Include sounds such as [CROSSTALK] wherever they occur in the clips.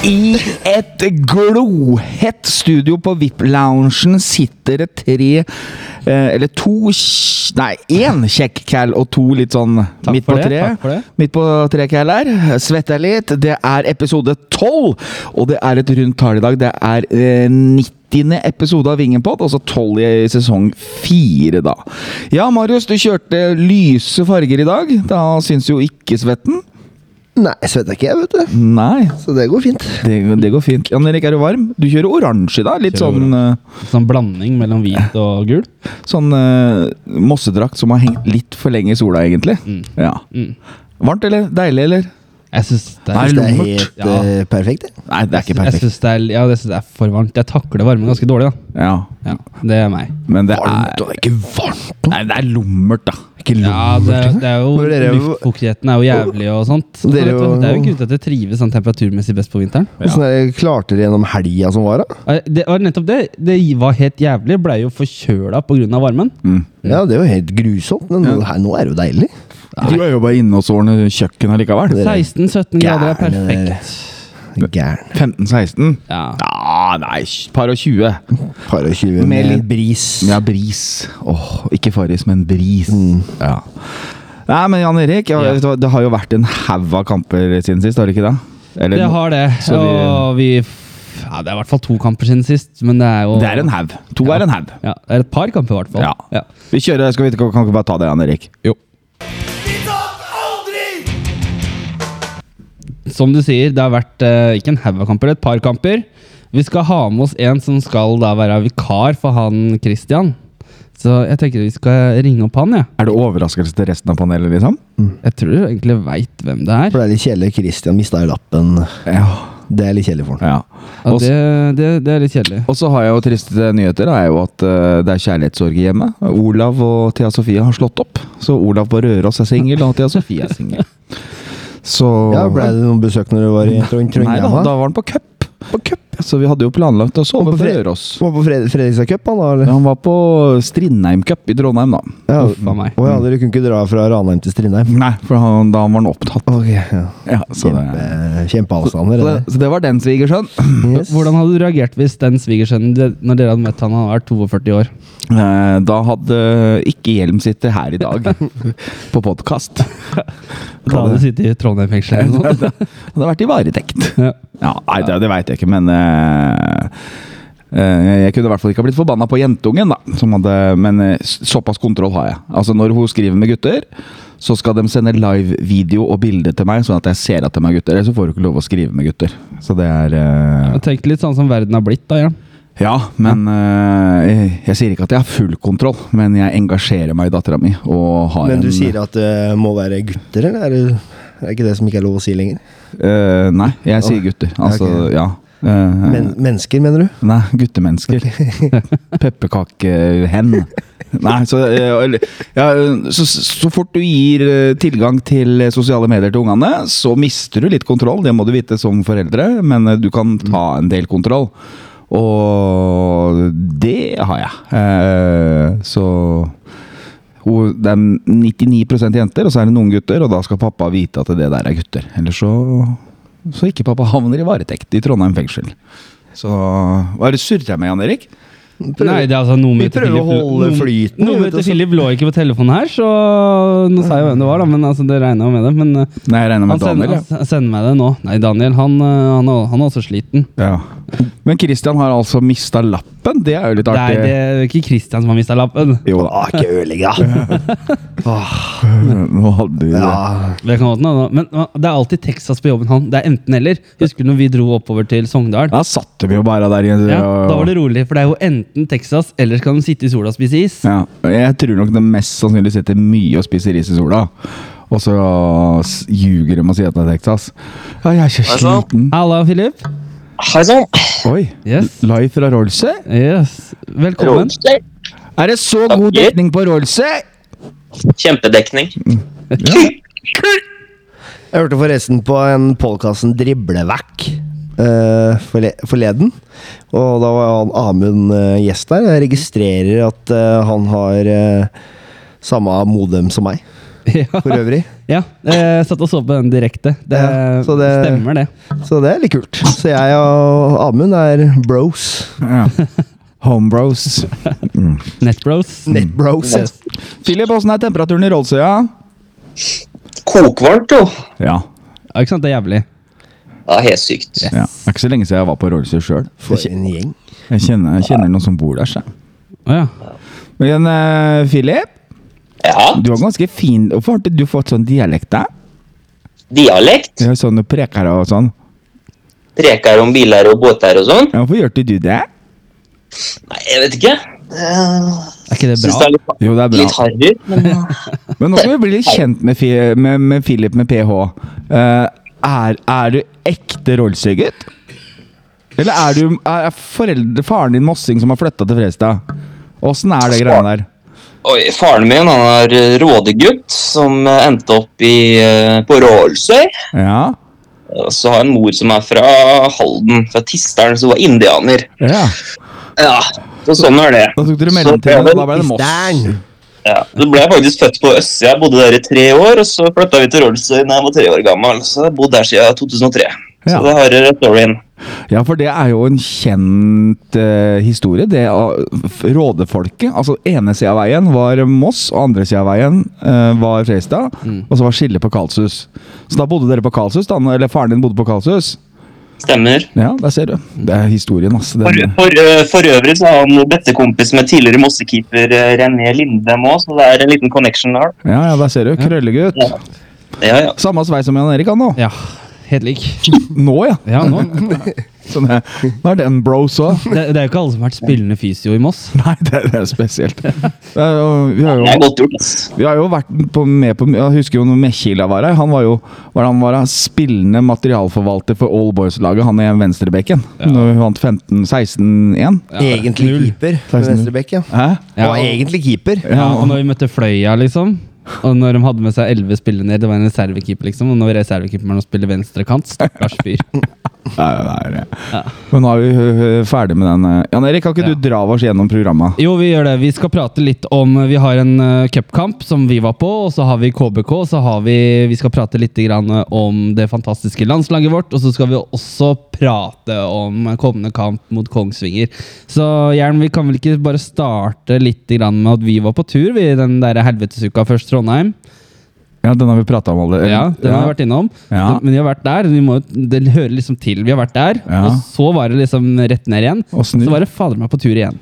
I et glohett studio på VIP-loungen sitter det tre eh, Eller to kj- Nei, én kjekk cal og to litt sånn Takk midt for på det, tre. takk for det. Midt på tre cal her. Svetter litt. Det er episode tolv, og det er et rundt tall i dag. Det er eh, 90. episode av Vingenpod, altså tolv i sesong fire, da. Ja, Marius, du kjørte lyse farger i dag. Da syns jo ikke svetten. Nei, svetter ikke jeg, vet du. Nei, Så det går fint. det, det går fint. Jan Erik, er du varm? Du kjører oransje i dag. Litt Kjører sånn, eh, Sånn blanding mellom hvit og gul. sånn eh, mossedrakt som har hengt litt for lenge i sola, egentlig. Mm. Ja. Mm. Varmt eller deilig, eller? Jeg syns det Nei, er Det er Lummert. helt Ja. eh, perfekt, det. Nei, det er ikke Jeg perfekt. synes det er, ja, jeg synes det er for varmt. Jeg takler varmen ganske dårlig, da. Ja. Ja, det er meg. Men det Varmt, er og det er ikke varmt. Nei, det er lummert, da. Ikke Ja, det, lummert. det er Men dere er jo jo- Luftfuktigheten er jo jævlig og sånt. Så Dere er vet du, jo- det er jo ikke ute etter å trives sånn temperaturmessig best på vinteren. Åssen ja. klarte dere gjennom helga som var, da? Eh, Det var nettopp det. Det var helt jævlig. Blei jo forkjøla pga. varmen. Mm. Ja, det var helt grusomt, men nå- her, nå er det jo deilig. Du er jo bare inne og sårne kjøkken allikevel. Det er 16-17 grader er gærne dere. perfekt. Gæren. 15-16? Ja. Ja, nei, par og 20. Par og tjue Med med litt litt bris. Ja, bris. Åh, ikke Farris, men bris. Ja. Nei, men Jan Erik, jeg, Mm. Ja. vet du hva, det har jo vært en haug av kamper siden sist, har det ikke det? Eller- Det har det. Så vi- Og vi ja, Det er i hvert fall to kamper siden sist, men det er jo Det er en haug. To Ja. er en haug. Ja, det er et par kamper, i hvert fall. Ja. Vi kjører, skal vi ikke, kan vi ikke bare ta det, Jan Erik? Jo. Som du sier, det har vært eh, ikke en haug av kamper, et par kamper. Vi skal ha med oss en som skal da være vikar for han Christian. Så jeg tenker vi skal ringe opp han, jeg. Er det overraskelse til resten av panelet, liksom? Jeg tror du egentlig veit hvem det er. For det er litt kjedelig. Christian mista jo lappen. Ja. Det er litt kjedelig for han. ja. Ja, Og det, så- det, det er litt kjedelig. og så har jeg jo triste nyheter, er jo at eh, det er kjærlighetssorg i hjemmet. Olav og Thea Sofie har slått opp, så Olav på Røros er singel, og Thea Sofie er singel. Så Ja, Ble det noen besøk når du var i Trond- Nei da, Trondheim? da var han på cup. På cup. Så vi hadde jo planlagt å sove Og på på fre- Røros. Du var på Fred Fredrikstad Cup, han da? Ja, eller? Han var på Strindheim Cup i Trondheim, da. Ja. Uff a meg. Å ja, dere kunne ikke dra fra Ranheim til Strindheim? Nei, for han, da var han opptatt. Ok, ja. Ja, så, det, Kjempe, kjempeavstander. så, det det, så det var den svigersønn. [LAUGHS] der. Yes. Hvordan hadde du reagert hvis den svigersønnen de- Når dere hadde møtt han, han var 42 år? Eh, Da hadde ikke Hjelm sitter her i [LAUGHS] dag, på podkast. Da hadde du sittet i Trondheim fengsel eller noe sånt. Han hadde vært i varetekt. Ja. Ja, nei, det, det veit jeg ikke, men eh, eh, Jeg kunne i hvert fall ikke ha blitt forbanna på jentungen, da. Som hadde, men eh, s- såpass kontroll har jeg. Altså Når hun skriver med gutter, så skal de sende live-video og bilde til meg, sånn at jeg ser at de er gutter. Ellers så får du ikke lov å skrive med gutter. Så det er eh, Tenk litt sånn som verden har blitt, da. Ja. Ja, men eh, jeg, jeg sier ikke at jeg har full kontroll, men jeg engasjerer meg i dattera mi. Og har Men du en, sier at det må være gutter, eller? Er det, er det ikke det som ikke er lov å si lenger? eh, Nei, jeg sier gutter. Altså, ok. ja. Eh, Men, mennesker, mener du? Nei, guttemennesker. Pepperkakehen. Nei, så, eh, eller- ja, så, så fort du gir eh, tilgang til eh, sosiale medier til ungene, så mister du litt kontroll. Det må du vite som foreldre, men eh, du kan ta en del kontroll. Og det har jeg. Eh, Så hun- det er 99 jenter, og så er det noen gutter, og da skal pappa vite at det der er gutter. Ellers så, så ikke pappa havner i varetekt i Trondheim fengsel. Så hva er det surrer jeg med, Jan Erik? Nei, det er altså noe Vi med til prøver å Philip- holde noe- flyten, Noe vet med du, til så- Philip lå ikke på telefonen her, så nå sa jeg hvem det var, da, men altså, det regna jo med det. Men eh, Nei, jeg regner med han sender, Daniel. han s- sender meg det nå. Nei, Daniel, han, eh, han, er- han er også sliten. Ja. Ja. Men Christian har altså mista lappen. Det er jo litt Det artig. er, det er ikke Christian som har mista lappen. Jo da. Ah, ikke ødelegg, da! [LAUGHS] [LAUGHS] Ah, Nå hadde vi det. Ja. Det kan godt hende, Men eh, det er alltid Texas på jobben han. Det er enten-eller. Husker du når vi dro oppover til Sogndal? Da satt vi jo bare der. i- Ja, da var det rolig, for det er jo enten Texas, eller så kan de sitte i sola og spise is. Ja, jeg tror nok de mest sannsynlig sitter mye og spiser ris i sola. Og så s- ljuger de og sier at det er Texas. Ja, jeg er så Hei sann. sliten. Halla, Philip. Hei sann. Oi, Yes. live fra Rolse? Yes. Velkommen. Roger. Er det så god Takk. dekning på Rolse? Kjempedekning. Jeg hørte forresten på en podkasten Driblevekk eh, forle- forleden. Og da var han Amund eh, gjest der. Jeg registrerer at eh, han har eh, samme modem som meg. [LAUGHS] Ja. for [LAUGHS] øvrig. Ja, eh, satt og så på den direkte. Det, Ja, så det- stemmer, det. Så det er litt kult. Så jeg og Amund er bros. Ja. [LAUGHS] Homebros. Netbros. Netbros. Philip, åssen er temperaturen i Rollsøya? Kokvarmt, jo. Ja. Ja, ikke sant? Det er jævlig. Ja, helt sykt. ja. Det er ikke så lenge siden jeg var på Rollsøya sjøl. For en gjeng. Jeg kjenner, jeg kjenner noen som bor der. Så. Å ja. Men eh, Philip, Ja, du har ganske fin Hvorfor har ikke du fått sånn dialekt? da? dialekt. Ja, Sånn du preker og sånn. Preker om biler og båter og sånn. Ja, Hvorfor gjør ikke du det? Nei, jeg vet ikke. Jeg Er ikke det syns det bra? er litt, Jo, det er bra. litt harry. Men Men nå skal vi bli litt kjent med, Fi med, med Philip med ph. Eh, er, er du ekte Rollsøy-gutt? Eller er du er er foreldre, faren din mossing som har flytta til Fredrikstad? Åssen er det greiene der? oi, faren min han er eh, rådegutt som eh, endte opp i, eh, på Rålsøy. Ja. Og så har jeg en mor som er fra Halden, fra Tisteren, som var indianer. ja. Ja, så sånn er det. Da tok dere Så mellomtiden, og ble jeg- da ble det Moss. Stern. Ja, så ble jeg faktisk født på Øst. Jeg bodde der i tre år, og så flytta vi til Rollsøy da jeg var tre år gammel. Så jeg har bodd der siden 2003. Ja. Så det har jeg rett over inn. Ja, for det er jo en kjent eh, historie. Det av- f- rådefolket. Altså, ene sida av veien var Moss, og andre sida av veien eh, var Fredrikstad. Og så var skillet på Kalshus. Så da bodde dere på Kalshus, da? Eller faren din bodde på Kalshus? Stemmer. Ja, der ser du. Det er historien, ass. Den, For, for, ø- for øvrig så har han brettekompis med tidligere Mossekeeper ø, René Lindem òg, så det er en liten connection der. ja, ja, der ser du. Krøllegutt. Ja. Ja, ja. Samme sveis som Jan Erik, han nå. Ja, helt lik. Nå, ja. Ja, nå. Sånn, eh, nå er den bros òg. Det, det er jo ikke alle som har vært spillende fysio i Moss. [LAUGHS] Nei, det, det er spesielt. Det er, jo- vi, har Det er jo, godt gjort. ass. vi har jo vært på, med på Jeg husker jo når Mekkila var her. Han var jo hva er det han var, da? spillende materialforvalter for All Boys-laget, han i venstrebekken. Når vi vant 15-16-1. Egentlig null. keeper med venstrebekk, ja. Hæ? Ja, Og egentlig keeper. Ja, og når vi møtte Fløya, liksom. Og når de hadde med seg elleve spillere ned, det var en reservekeeper, liksom. Og når reservekeeperen spiller venstrekant, stakkars fyr. Nei, nei, nei. Men nå er vi ø, ø, ferdig med den. eh. Jan Erik, kan ikke Ja. du dra oss gjennom programmet? Jo, vi gjør det. Vi skal prate litt om Vi har en eh, cupkamp som vi var på, og så har vi KBK. Og så har vi, vi skal prate litt grann eh, om det fantastiske landslaget vårt. Og så skal vi også prate om kommende kamp mot Kongsvinger. Så Jern, vi kan vel ikke bare starte litt grann med at vi var på tur vi, den der helvetesuka først, Trondheim. Ja, den har vi prata om allerede. Ja, den har vi vært innom. Eh, Ja. Men vi har vært der. Vi må, jo- det hører liksom til. Vi har vært der, Ja. og så var det liksom rett ned igjen. Og snu. Så var det fader meg på tur igjen.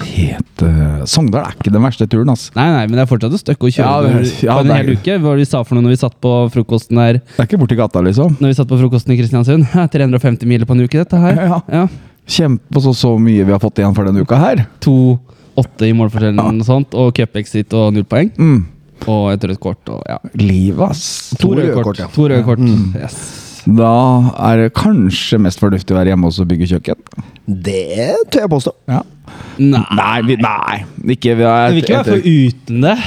Helt eh, Sogndal er ikke den verste turen, altså. Nei, nei, men det er fortsatt et stykke å kjøre Ja, når- det- ja, på en det er- hel uke. Hva var det vi sa for noe når vi satt på frokosten der Det er ikke borti gata, liksom. Når vi satt på frokosten i Kristiansund? [LAUGHS] Hæ, 350 miler på en uke, dette [LAUGHS] her. Ja. Ja. Kjempe så, så mye vi har fått igjen for denne uka her. 2-8 i målforskjellen og sånt, og cupexit og null poeng. Mm. Og et rødt kort. Og, ja. Livet, ass. To røde røde kort. kort, ja. To røde kort. Mm. Yes. Da er det kanskje mest fornuftig å være hjemme hos og bygge kjøkken. Det tør jeg påstå. Ja. Nei. Nei, vi, nei. Ikke vi har Jeg vil ikke være for uten det.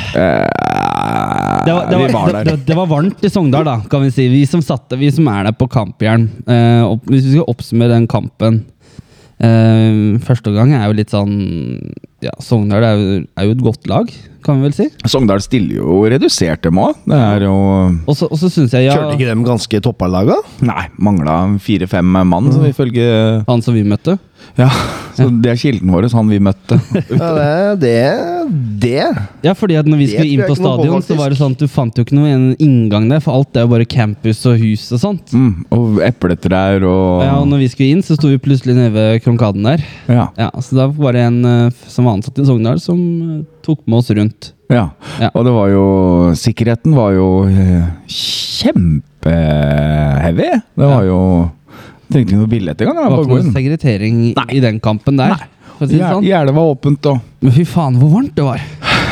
Eh, Det var, det, Vi var, var det, der. det var varmt i Sogndal, da, kan vi si. Vi som satt der, vi som er der på kampjern. Eh, opp, hvis vi skal oppsummere den kampen eh, Første gang er jo litt sånn Ja, Sogndal er jo, er jo et godt lag, kan vi vel si. Sogndal stiller jo redusert, dem òg. Det er jo Og så og så syns jeg ja, Kjørte ikke dem ganske toppalaga? Nei, mangla fire-fem mann, så Mm. ifølge han som vi møtte Ja, så det er kilden vår, han vi møtte. [LAUGHS] Ja, det, det, det. Ja, fordi at når vi Det skulle tror inn på jeg ikke noe på, stadion, så var det faktisk. sånn at du fant jo ikke noen inngang der, for alt er jo bare campus og hus og sånt. Mm, og epletrær og Ja, og når vi skulle inn, så sto vi plutselig nede ved kronkaden der. ja. Ja, Så da var det en eh, f- som var ansatt i Sogndal, som eh, tok med oss rundt. Ja. Ja. og det var jo Sikkerheten var jo eh, kjempeheavy. Det var jo Trengte ikke noe billett engang. det Det var var bare å ikke gå noe inn. segretering i- i den kampen der. For å si det Gjer- sånn. Gjerdet var åpent og Men fy faen, hvor varmt det var!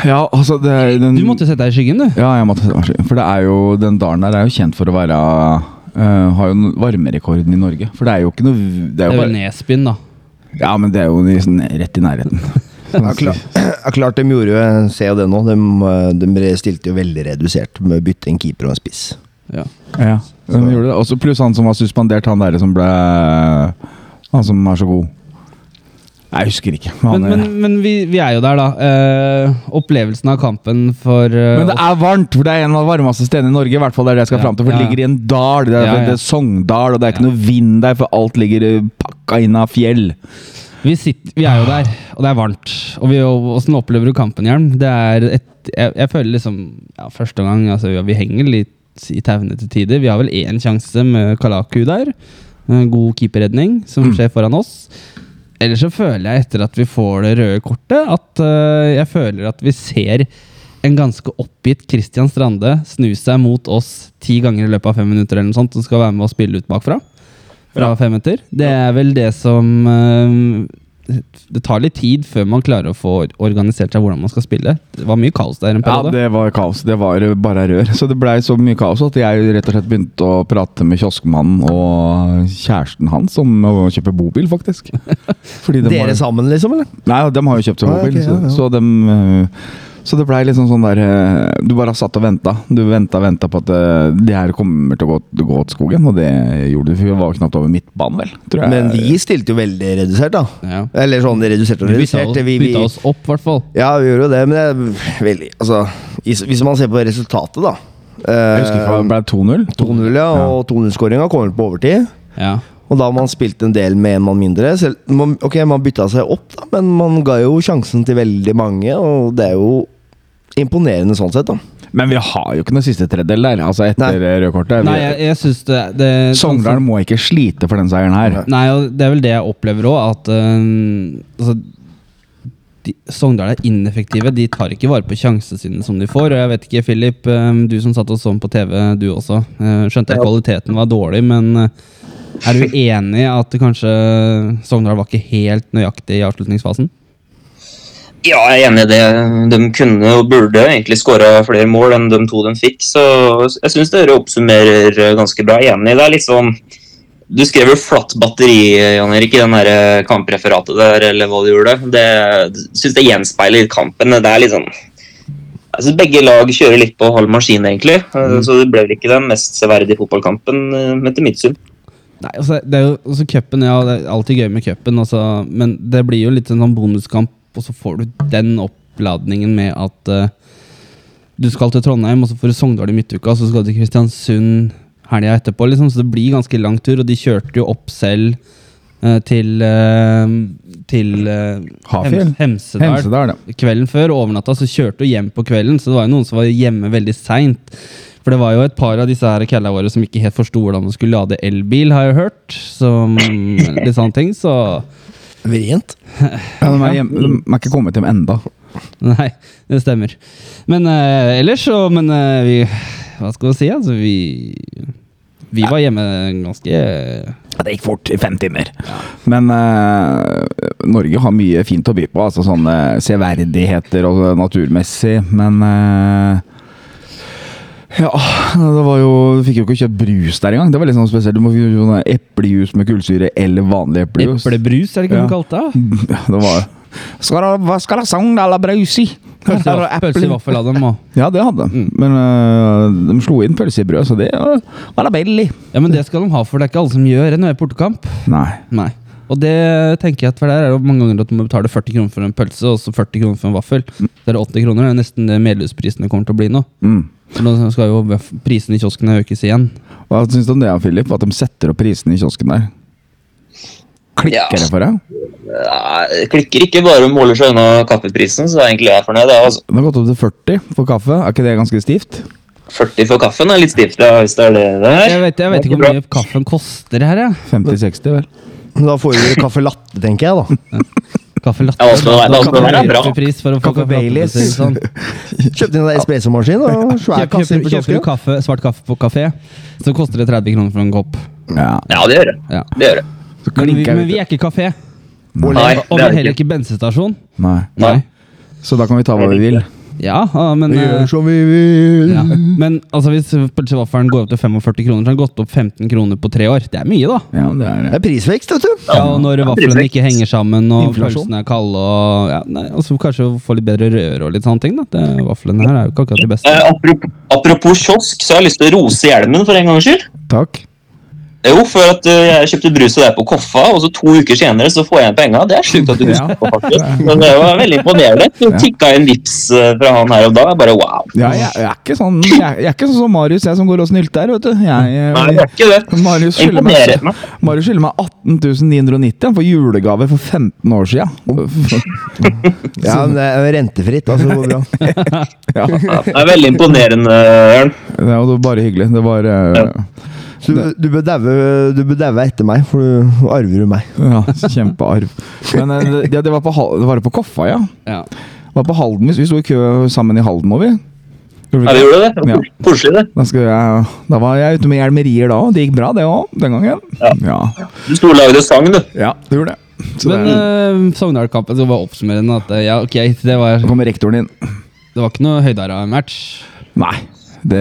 Ja, altså det, den, Du måtte sette deg i skyggen, du. Ja, jeg måtte For det er jo Den dalen der er jo kjent for å være eh, har jo n- varmerekorden i Norge. For det er jo ikke noe Det er Det er jo vel bare, Nesbyen, da. Ja, men det er jo liksom rett i [LAUGHS] nærheten. Ja, klar, ja, klart de gjorde jo Se jo det nå. De, eh, de stilte jo veldig redusert med å bytte en keeper og en spiss. Ja. Ja, de gjorde det. Også pluss han som var suspendert, han derre som ble Han som er så god. Jeg husker ikke. Han, Men, men, men vi, vi er jo der, da. Eh, opplevelsen av kampen for eh, Men det er varmt, for det er en av de varmeste stedene i Norge. I hvert fall det er det jeg skal Ja, fram til, for det ja. ligger i en dal. Det er, Ja, ja. det er Sogndal, og det er ikke Ja. noe vind der, for alt ligger eh, pakka inn av fjell. Vi, sitter, vi er jo der, og det er varmt. Og vi, og- Hvordan opplever du kampen, Hjelm? Det er et, jeg, jeg føler liksom ja, Første gang altså, ja, vi henger litt i tauene til tider. Vi har vel én sjanse med Kalaku der. En god keeperredning som skjer foran oss. Ellers så føler jeg etter at vi får det røde kortet, at eh, jeg føler at vi ser en ganske oppgitt Christian Strande snu seg mot oss ti ganger i løpet av fem minutter, eller noe sånt, som skal være med og spille ut bakfra. Fra fem meter. Det er vel det som eh, Det tar litt tid før man klarer å få organisert seg hvordan man skal spille. Det var mye kaos der Ja, en periode. det var kaos. Det var eh, bare rør. [LAUGHS] Så det blei så mye kaos at jeg rett og slett begynte å prate med kioskmannen og kjæresten hans om å kjøpe bobil, [LAUGHS] faktisk. Fordi de Dere har- sammen, liksom? eller? Nei, de har jo kjøpt seg Ah, mobil, ok, ja, ja. Så, så, dem, eh, så det blei liksom sånn der eh, Du bare satt og venta. Du venta og venta på at eh, det her kommer til å gå, gå til skogen, og det gjorde det. For vi var knapt over midtbanen, vel. Tror jeg. Men vi stilte jo veldig redusert, da. Ja. Eller sånn redusert og Vi bytta redusert. oss, Vi, vi, bytta oss opp, i hvert fall. ja, vi gjorde jo det, men jeg, vel, altså, hvis hvis man ser på resultatet, da Jeg husker eh, ikke hva det ble 2-0. 2-0, ja, og 2-0-skåringa kommer på overtid. Ja. Og da har man spilt en del med en mann mindre. Selv, man, ok, man bytta seg opp, da, men man ga jo sjansen til veldig mange, og det er jo imponerende sånn sett, da. Men vi har jo ikke noe siste tredjedel der, altså Nei. etter rødkortet. Nei, jeg, jeg syns det, det Sogndal må ikke slite for den seieren her. Nei, og det er vel det jeg opplever òg, at øhm, altså, de, Sogndal er ineffektive. De tar ikke vare på sjansene sine som de får. Og jeg vet ikke, Philip, øhm, du som satt og så den på TV, du også. øh, skjønte jeg kvaliteten var dårlig, men øh, er du enig i at kanskje Sogndal var ikke helt nøyaktig i avslutningsfasen? Ja, jeg er enig i det. De kunne og burde egentlig skåra flere mål enn de to de fikk, så jeg syns dere oppsummerer eh, ganske bra. Jeg er Enig, det er litt sånn Du skrev jo flatt batteri, Jan Erik, i den her eh, kampreferatet der, eller hva du gjorde. Det syns jeg gjenspeiler kampen. Det er litt sånn jeg synes Begge lag kjører litt på halv maskin, egentlig. Eh, Så det ble vel ikke den mest severdige fotballkampen, eh, etter mitt syn. Nei, altså, det er jo også cupen, ja, det er alltid gøy med cupen, altså, men det blir jo litt en sånn bonuskamp, og så får du den oppladningen med at eh, du skal til Trondheim, og så får du Sogndal i midtuka, og så skal du til Kristiansund helga etterpå, liksom, så det blir ganske lang tur, og de kjørte jo opp selv eh, til, eh, til eh, Hafjell. Hems- Hemsedal. Hemsedal, ja. Kvelden før og overnatta så kjørte du hjem på kvelden, så det var jo noen som var hjemme veldig seint. For det var jo et par av disse her kalla våre som ikke helt forsto hvordan man skulle lade elbil, har jeg hørt. [COUGHS] Som litt sånne ting, så Vrient. Ja, de, er hjem, de er ikke kommet hjem enda. Nei, det stemmer. Men eh, ellers så Men eh, vi Hva skal vi si? Altså, vi Vi var hjemme ganske Ja, det gikk fort i fem timer. Men eh, Norge har mye fint å by på. Altså sånne severdigheter og naturmessig, men eh, ja, det var jo Du fikk jo ikke kjøpt brus der engang. Det var litt sånn spesielt. Du må jo sånn eplejus med kullsyre eller vanlig eplejus. Eplebrus, er det ikke Ja. noe kalt det? Ja, det var Skal du Hva skal du ha Sogndal og brus i? Pølse [LAUGHS] i Her er vaff- pølse i eple- vaffel av dem også. Ja, det hadde de. Men øh, de slo inn pølse i brød, så det var- var da billig. Ja, men det skal de ha, for det er ikke alle som gjør en portekamp. Nei. Nei. Og det tenker jeg at for der er det jo mange ganger at du må betale 40 kroner for en pølse og så 40 kroner for en vaffel. Mm. Så er det 80 kroner. Det er nesten det medlemsprisene kommer til å bli nå. Mm. For nå skal jo vaff- prisene i kioskene økes igjen. Hva syns du om det, Philip? At de setter opp prisene i kiosken der? Ja. Klikker det for deg? Nei, klikker ikke bare måler seg unna kaffeprisen, så er egentlig jeg fornøyd. jeg, Altså, De har gått opp til 40 for kaffe. Er ikke det ganske stivt? 40 for kaffen er litt stivt, ja, hvis det er det det er. Jeg vet, jeg vet Det er ikke hvor bra. mye kaffen koster her, jeg. 50-60, vel. Da får vi kaffe latte, tenker jeg, da. Kaffe latte. Ja, altså, det er- altså, det er bra. Kjøpepris for å få Kaffe kaffe latte, Baileys. for å si det [LAUGHS] Sånn. Kjøpte inn en espressomaskin og svær Kjøper, kasse kjøper, inn på kjøper du kiosken. kaffe, svart kaffe på kafé, så koster det 30 kroner for en kopp. Ja. Ja, det gjør det. Ja. det, gjør det. Så Men, vi, klinker men vi jeg ut. er ikke kafé, Og Nei, og vi det er er heller det ikke. ikke bensinstasjon. Nei. Nei. Så da kan vi ta hva vi vil. Ja, ah, men Vi eh, gjør som vi vil. Ja. Mm. Men altså, hvis pølsevaffelen går opp til 45 kroner, så har den gått opp 15 kroner på tre år. Det er mye, da. Ja, det er Det det. er prisvekst, vet du. Ja, og når vaflene ikke henger sammen, og Inflasjon. pølsene er kalde og ja, nei, altså, Kanskje få litt bedre røre og litt sånne ting. da det, Vaflene her er jo ikke akkurat de beste. Eh, apropos, apropos kiosk, så har jeg lyst til å rose hjelmen for en gangs skyld. Takk. Jo, for at uh, jeg kjøpte brus og det er på Koffa, og så to uker senere så får jeg penga. Det er sjukt at du Ja. husker på, faktisk. Men det var veldig imponerende. Så tikka inn vips uh, fra han her og da. Jeg bare wow. Ja, jeg, jeg, er ikke sånn, jeg, jeg er ikke sånn som Marius, jeg som går og snylter, vet du. Jeg, Nei, det er ikke det. Marius skylder meg, Imponerende. Marius skylder meg 18.990 han, for julegave for 15 år Oh. [LAUGHS] siden. Ja, men det er rentefritt, altså. Går bra. Ja, det Ja, det er veldig imponerende, Jørn. var bare hyggelig. Det var eh, Så du, du bør daue- du bør daue etter meg, for du arver jo meg. ja, kjempearv. Men eh, det, det, var på, Hal- det var på Koffa, ja. Ja. Det var på Halden. Vi, vi sto i kø sammen i Halden, og vi. Gjorde vi Ja, ikke? vi gjorde det. det. Ja. var kos- Koselig, det. Da, skulle jeg, da var jeg ute med hjelmerier da, og det gikk bra, det òg, den gangen. Ja. ja. Du sto og lagde sang, du. Ja, det gjorde det. Så Men det, eh, Sogndal-kampen skal bare oppsummere den. At, eh, ja, ok, det, var, så kommer rektoren inn. det var ikke noe høydara match. Nei. Det,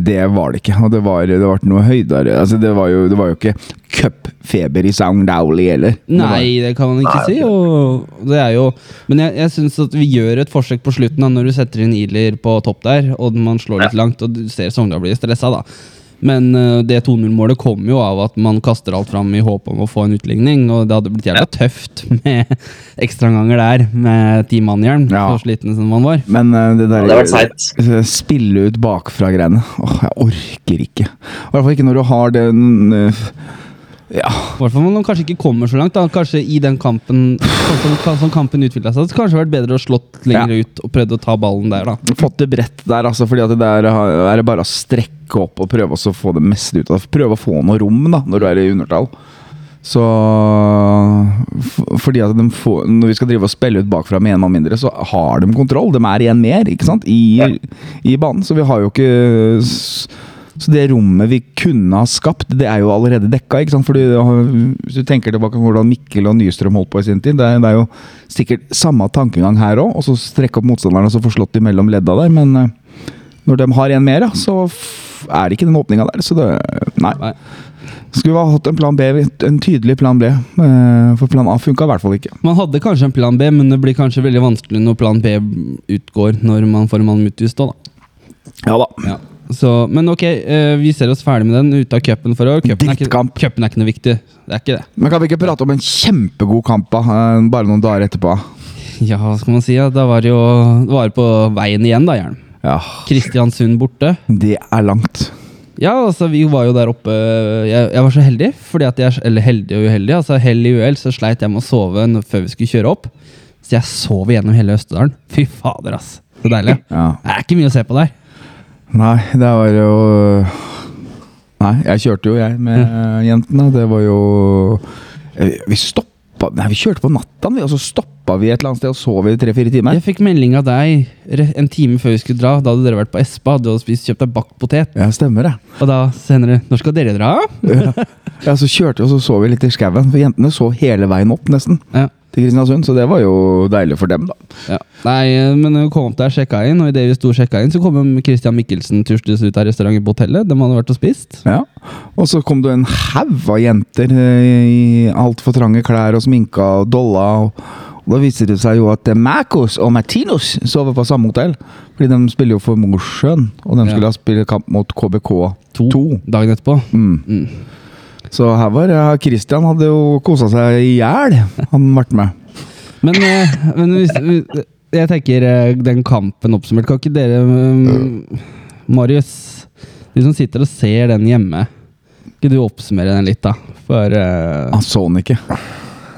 det var det ikke. Og det var, det var ikke noe høydere altså, det, var jo, det var jo ikke cupfeber i Sound Dowley heller. Det var- Nei, det kan man ikke si. Og det er jo, men jeg, jeg syns at vi gjør et forsøk på slutten da, når du setter inn Idler på topp der, og man slår litt langt, og du ser Sogndal blir stressa, da. Men eh, det 2-0-målet kommer jo av at man kaster alt fram i håp om å få en utligning. Og det hadde blitt jævla tøft med ekstraomganger der med ti mann i hjelm, Ja. så slitne som man var. Men eh, det der Ja, det har vært seigt. [LAUGHS] Spille ut bakfra-greiene. Åh, jeg orker ikke. I hvert fall ikke når du har den eh, Ja. I hvert fall når man kanskje ikke kommer så langt. da Kanskje i den kampen sånn som, sånn som kampen utvikla seg, så kanskje det hadde vært bedre å slått lenger ut og prøvd å ta ballen der, da. fått det bredt der, altså, fordi at det der har- er det bare å strekke opp og prøve også å få det meste ut av Prøve å få noe rom da, når du er i undertall. Så f- Fordi at de får, når vi skal drive og spille ut bakfra med én mann mindre, så har de kontroll. De er igjen mer ikke sant? I, i banen, så vi har jo ikke s- så det rommet vi kunne ha skapt, det er jo allerede dekka. ikke sant? Fordi det har- Hvis du tenker tilbake på hvordan Mikkel og Nystrøm holdt på i sin tid, det er, det er jo sikkert samme tankegang her òg. Og så strekke opp motstanderne og så få slått imellom ledda der. Men eh, når de har en mer, ja, så f- er det ikke den åpninga der. Så det Nei. Nei. Skulle vi ha hatt en plan B, en tydelig plan B. eh, For plan A funka i hvert fall ikke. Man hadde kanskje en plan B, men det blir kanskje veldig vanskelig når plan B utgår når man får en mann ut i stå, da. Ja da. Ja. Så, men ok, eh, vi ser oss ferdig med den. Ute av cupen for i år. Cupen er, ikke, Drittkamp. cupen er ikke noe viktig. Det er ikke det. Men kan vi ikke prate om en kjempegod kamp da, eh, bare noen dager etterpå? Ja, hva skal man si? Ja, da var det jo det var på veien igjen, da, Jern. Ja, Kristiansund borte. det er langt. Ja, altså vi var jo der oppe Jeg, jeg var så heldig, fordi at jeg, eller heldig og uheldig. altså Hell i uhell så sleit jeg med å sove n- før vi skulle kjøre opp. Så jeg sov gjennom hele Østerdalen. Fy fader, ass. Så deilig. Ja. Det er ikke mye å se på der. Nei, det var jo Nei, jeg kjørte jo, jeg, med jentene. Det var jo Eh, Vi stoppa Nei, vi kjørte på natta, vi, og så stoppa vi et eller annet sted og sov i tre-fire timer. Jeg fikk melding av deg re- en time før vi skulle dra. Da hadde dere vært på Espa og du hadde spist, kjøpt deg bakt potet. Ja, stemmer det. Og da sender du 'Når skal dere dra?' Ja, Så kjørte vi, og så sov vi litt i skauen. For jentene sov hele veien opp, nesten, Ja. til Kristiansund. Så det var jo deilig for dem, da. ja. Nei, eh, men vi kom opp der, sjekka inn, og idet vi sto og sjekka inn, så kom jo Christian Michelsen tuslende ut av restauranten på hotellet. De hadde vært og spist. Ja. Og så kom det en haug av jenter eh, i altfor trange klær og sminka og dolla. Og, og da viser det seg jo at eh, Marcos og Martinos sover på samme hotell. Fordi de spiller jo for Mosjøen, og de Ja. skulle ha spilt kamp mot KBK2. Dagen etterpå. Mm. Mm. Så her var ja, Christian hadde jo kosa seg i hjel, han ble med. Men, eh, men hvis, vi- jeg tenker eh, den kampen oppsummert. Kan ikke dere, mm, Marius, du som sitter og ser den hjemme, kan ikke du oppsummere den litt, da? For eh, Han så han ikke.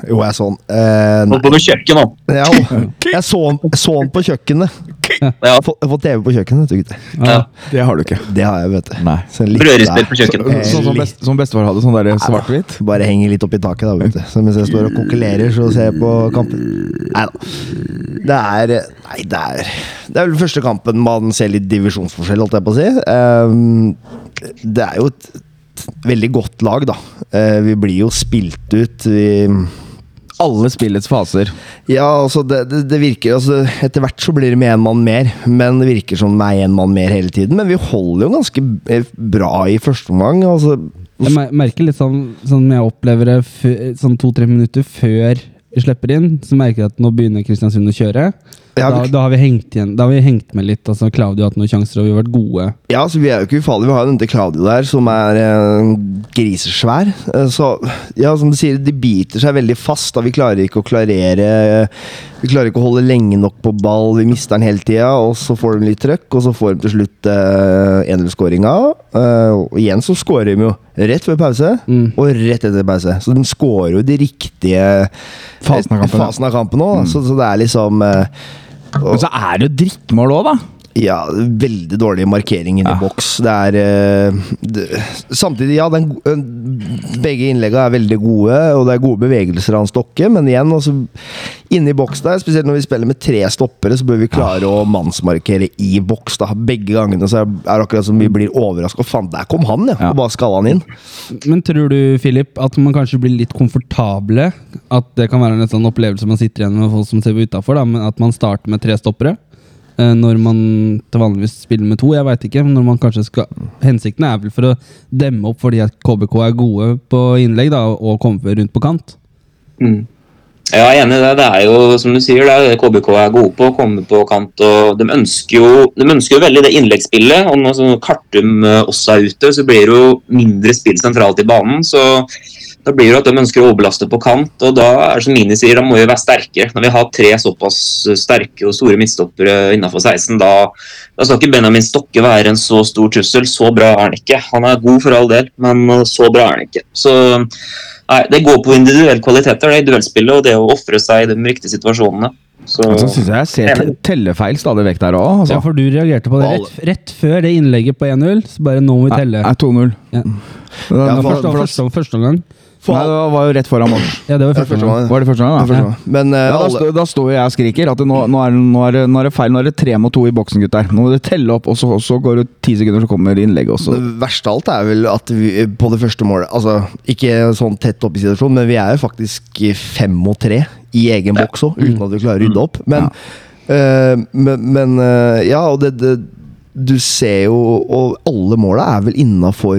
Jo, jeg så den. Eh, nei. Holdt på med kjøkken, han. Ja, jeg så den, så den på kjøkkenet. Ja. Jeg har fått- jeg har fått TV på kjøkkenet, vet du, gutter. Ja. Det har du ikke. Det har jeg, vet du. Nei. Så litt Brødrister på der. kjøkkenet. Sånn som, best, som bestefar hadde, sånn der svart-hvitt. Bare henger litt opp i taket, da, vet du. Så mens jeg står og kokkelerer, så ser jeg på kampen. Nei da. Det er Nei, det er Det er vel første kampen man ser litt divisjonsforskjell, holdt jeg på å si. Ehm, det er jo et veldig godt lag, da. Eh, vi blir jo spilt ut. Vi Alle spillets faser. Ja, altså det, det, det virker altså Etter hvert så blir det med én mann mer, men det virker som det er én mann mer hele tiden. Men vi holder jo ganske eh, bra i første omgang. Altså, jeg mer- merker litt sånn sånn jeg opplever det fø- sånn to-tre minutter før vi slipper inn, så merker jeg at nå begynner Kristiansund å kjøre. Ja, Da, vi- da, har vi hengt igjen, da har vi hengt med litt. altså Claudio har hatt noen sjanser, og vi har vært gode. Ja, så vi er jo ikke ufarlige. Vi har jo denne Claudio der, som er eh, grisesvær. Eh, Så ja, som du sier, de biter seg veldig fast. da Vi klarer ikke å klarere eh, Vi klarer ikke å holde lenge nok på ball. Vi mister den hele tida, og så får de litt trøkk, og så får de til slutt eh, 1-0-skåringa. Eh, og igjen så skårer de jo rett før pause, Mm. og rett etter pause. Så de skårer jo de riktige Fasen av kampen, ja. Mm. fasen av kampen òg. Så, så det er liksom eh, og- Men så er det jo drittmål òg, da. ja, veldig dårlig markering inni Ja. boks. Det er eh, det, Samtidig, ja, den, go- eh, begge innleggene er veldig gode, og det er gode bevegelser av han Stokke, men igjen, altså Inni boks der, spesielt når vi spiller med tre stoppere, så bør vi klare å mannsmarkere i boks. da Begge gangene så er er det akkurat som vi blir overraska. Faen, der kom han, ja! Ja. Og bare skalla han inn. Men tror du, Philip, at man kanskje blir litt komfortable? At det kan være en litt sånn opplevelse man sitter igjen med folk som ser utafor, men at man starter med tre stoppere? eh, Når man til vanligvis spiller med to, jeg veit ikke. Men når man kanskje skal Hensikten er vel for å demme opp fordi at KBK er gode på innlegg da, og komme rundt på kant. Mm. Ja, jeg er enig i det. Det er jo som du sier, det er det KBK er gode på. å Komme på kant. og De ønsker jo, de ønsker jo veldig det innleggsspillet. og Når sånn Kartum eh, også er ute, så blir det jo mindre spill sentralt i banen. så da blir det at De ønsker å overbelaste på kant, og da er det som Mini sier, de må jo være sterke. Når vi har tre såpass sterke og store midtstoppere innafor 16, da, da skal ikke Benjamin Stokke være en så stor trussel. Så bra er han ikke. Han er god for all del, men eh, så bra er han ikke. Så Nei, det går på individuelle kvaliteter, det i duellspillet, og det å ofre seg i de riktige situasjonene. Så, Så syns jeg jeg ser te- tellefeil stadig vekk der òg. Ja, Altså. for du reagerte på det rett, rett før det innlegget på 1-0. Så bare nå må vi Nei, telle. nei, 2-0. Ja. Det- Ja, det- for- Første, første, første omgang. Nei, det var jo rett foran mål. Ja, det var Ja, første første omgang. gang. Var det første gang, da? Ja, første gang. Men eh, Ja, da, alle, sto- da står jeg og skriker at det nå, nå, er, nå, er, det- nå er det feil. Nå er det tre mot to i boksen, gutter. Nå må dere telle opp, og så, og så går det ti sekunder, så kommer innlegget også. Det verste av alt er vel at vi på det første målet Altså, ikke sånn tett opp i situasjonen, men vi er jo faktisk fem mot tre i egen boks òg, Mm. uten at vi klarer å rydde opp. Men, eh, men, men eh, ja, og det, det du ser jo Og alle måla er vel innafor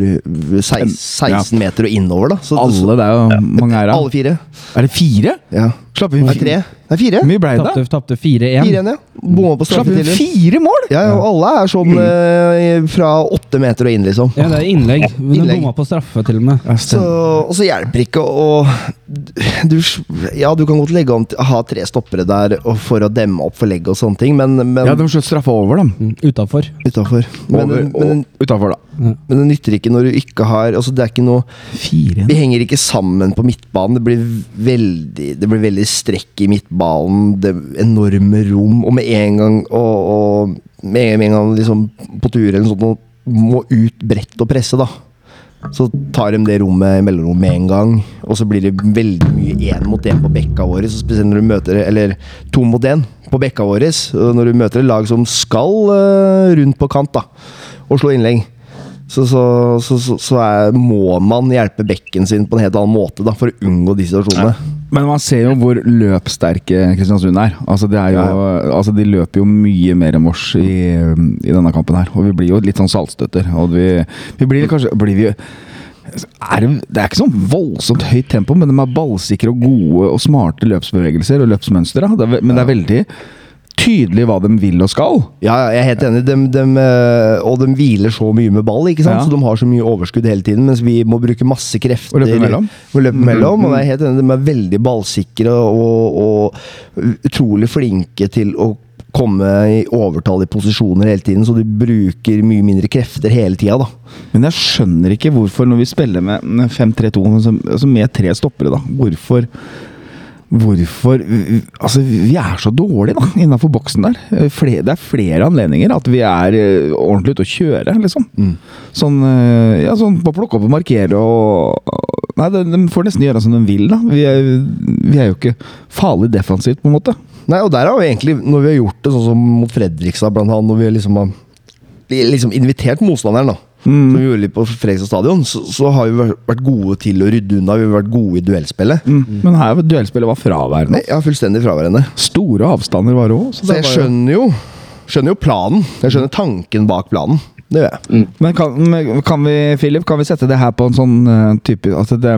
16, Ja. meter og innover, da. Så, Alle, det er jo mange her. så, da. alle fire. Er det fire? Ja. Slapp vi Det er tre. Det er fire. Hvor mye ble det? Tapte- Tapte 4-1. 4-1, ja. Bomma på Slapp vi straffetidligere. fire Mm. mål? Ja, ja, og alle er sånn eh, fra åtte meter og inn, liksom. Ja, det er innlegg. Men du Innlegg. bomma på straffe, til og med. Så, Mm. og så hjelper ikke å du, Ja, du kan godt legge om til ha tre stoppere der og for å demme opp for legg og sånne ting, men, men Ja, de skjøt straffa over dem. Mm, Utafor. utenfor. Men, Over men, og utafor, da. men det nytter ikke når du ikke har altså det er ikke noe, Fire Vi henger ikke sammen på midtbanen. Det blir veldig, det blir veldig strekk i midtbanen. Det er enorme rom, og med en gang og, og med en- med en gang liksom på tur eller noe sånt, og må ut bredt og presse, da. Så tar de det rommet i mellomrommet med en gang, og så blir det veldig mye én mot én på bekka våre. Så spesielt når du møter Eller to mot én på bekka våre. Når du møter et lag som skal eh, rundt på kant da og slå innlegg, så, så, så, så, så er, må man hjelpe bekken sin på en helt annen måte da for å unngå de situasjonene. Men man ser jo hvor løpssterke Kristiansund er. Altså, det er jo, altså De løper jo mye mer enn vårs i, i denne kampen her. Og vi blir jo litt sånn saltstøtter. Og vi, vi blir kanskje blir vi, er det, det er ikke sånn voldsomt høyt tempo, men de er ballsikre og gode og smarte løpsbevegelser og løpsmønstre. Det er, ve- men det er veldig tydelig hva de vil og skal. Ja, ja, jeg er helt enig. Dem- dem, eh, og de hviler så mye med ball, ikke sant? Ja. så de har så mye overskudd hele tiden. Mens vi må bruke masse krefter. Og løpe imellom. Mm-hmm. Og løpe imellom, og jeg er helt enig, de er veldig ballsikre og, og utrolig flinke til å komme i overtallige posisjoner hele tiden. Så du bruker mye mindre krefter hele tida, da. Men jeg skjønner ikke hvorfor, når vi spiller med med 5-3-2, altså altså med tre stoppere, da Hvorfor Hvorfor Altså, vi er så dårlige, da, innafor boksen der. Eh, fle- det er flere anledninger at vi er eh, ordentlig ute å kjøre, liksom. Sånn, eh, ja, sånn på å plukke opp og markere og og- Nei, de, de får nesten gjøre som de vil, da. Vi er, vi er jo ikke farlig defensivt, på en måte. Nei, og der har vi egentlig, når vi har gjort det sånn som mot Fredrikstad, blant annet, når vi liksom har vi liksom invitert motstanderen, da. Mm. Som vi gjorde litt på Fredrikstad stadion, så, så har vi vært- vært gode til å rydde unna. Vi har vært gode i duellspillet. Men her var duellspillet var fraværende. Nei, ja, fullstendig fraværende. Store avstander var det òg. Så jeg skjønner jo Skjønner jo planen. Jeg skjønner tanken bak planen. Det gjør jeg. Mm. Men kan, kan vi, Philip, kan vi sette det her på en sånn eh, type altså, det,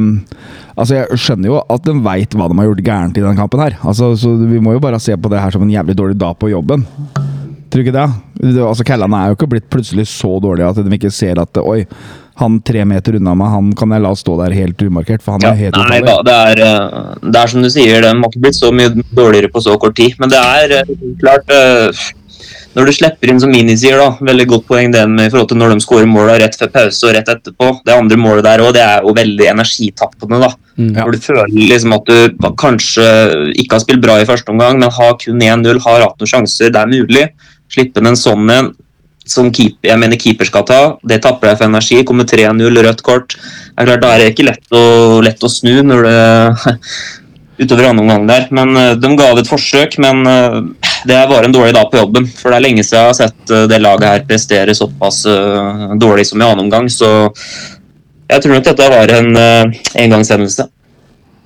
altså, jeg skjønner jo at de veit hva de har gjort gærent i denne kampen her. Altså, så vi må jo bare se på det her som en jævlig dårlig dag på jobben. Tror du ikke det? det altså, Kellan er jo ikke blitt plutselig så dårlig at de ikke ser at Oi, han tre meter unna meg, han kan jeg la stå der helt umarkert, for han Ja, er helt nei ufarlig. da, det er, eh, det er som du sier, de har ikke blitt så mye dårligere på så kort tid. Men det er eh, klart eh, Når du slipper inn, som Mini sier, da, veldig godt poeng det med i forhold til når de skårer måla rett før pause og rett etterpå. Det andre målet der òg, det er jo veldig energitappende, da. Mm. Ja. Hvor du føler liksom at du ba- kanskje ikke har spilt bra i første omgang, men har kun 1-0, har hatt noen sjanser, det er mulig. Slippe den sånn en som keep, jeg mener keeper skal ta, det tapper deg for energi. Kommer 3-0, rødt kort. Det er klart, Da er det ikke lett å, lett å snu når det [LAUGHS] utover andre omgang der. Men eh, de ga det et forsøk, men eh, det var en dårlig dag på jobben. For det er lenge siden jeg har sett eh, det laget her prestere såpass eh, dårlig som i annen omgang. Så jeg tror nok dette var en eh, engangshendelse.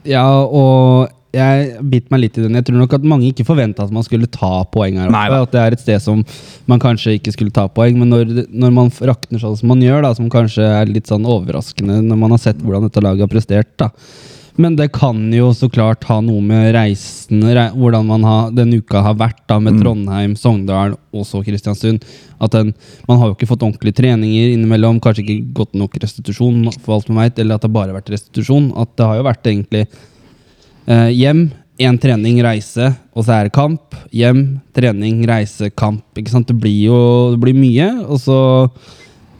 Ja, og jeg bit meg litt i den. Jeg tror nok at mange ikke forventa at man skulle ta poeng her oppe. Nei da. At det er et sted som man kanskje ikke skulle ta poeng. Men når, når man rakner sånn som man gjør, da, som kanskje er litt sånn overraskende når man har sett hvordan dette laget har prestert, da. Men det kan jo så klart ha noe med reisen, rei, hvordan man har, den uka har vært da, Mm. med Trondheim, Sogndal og så Kristiansund. At den, Man har jo ikke fått ordentlige treninger innimellom, kanskje ikke godt nok restitusjon, for alt man vet, eller at det bare har vært restitusjon. At det har jo vært egentlig Eh, hjem, én trening, reise, og så er det kamp. Hjem, trening, reise, kamp. Ikke sant? Det blir jo det blir mye. Og så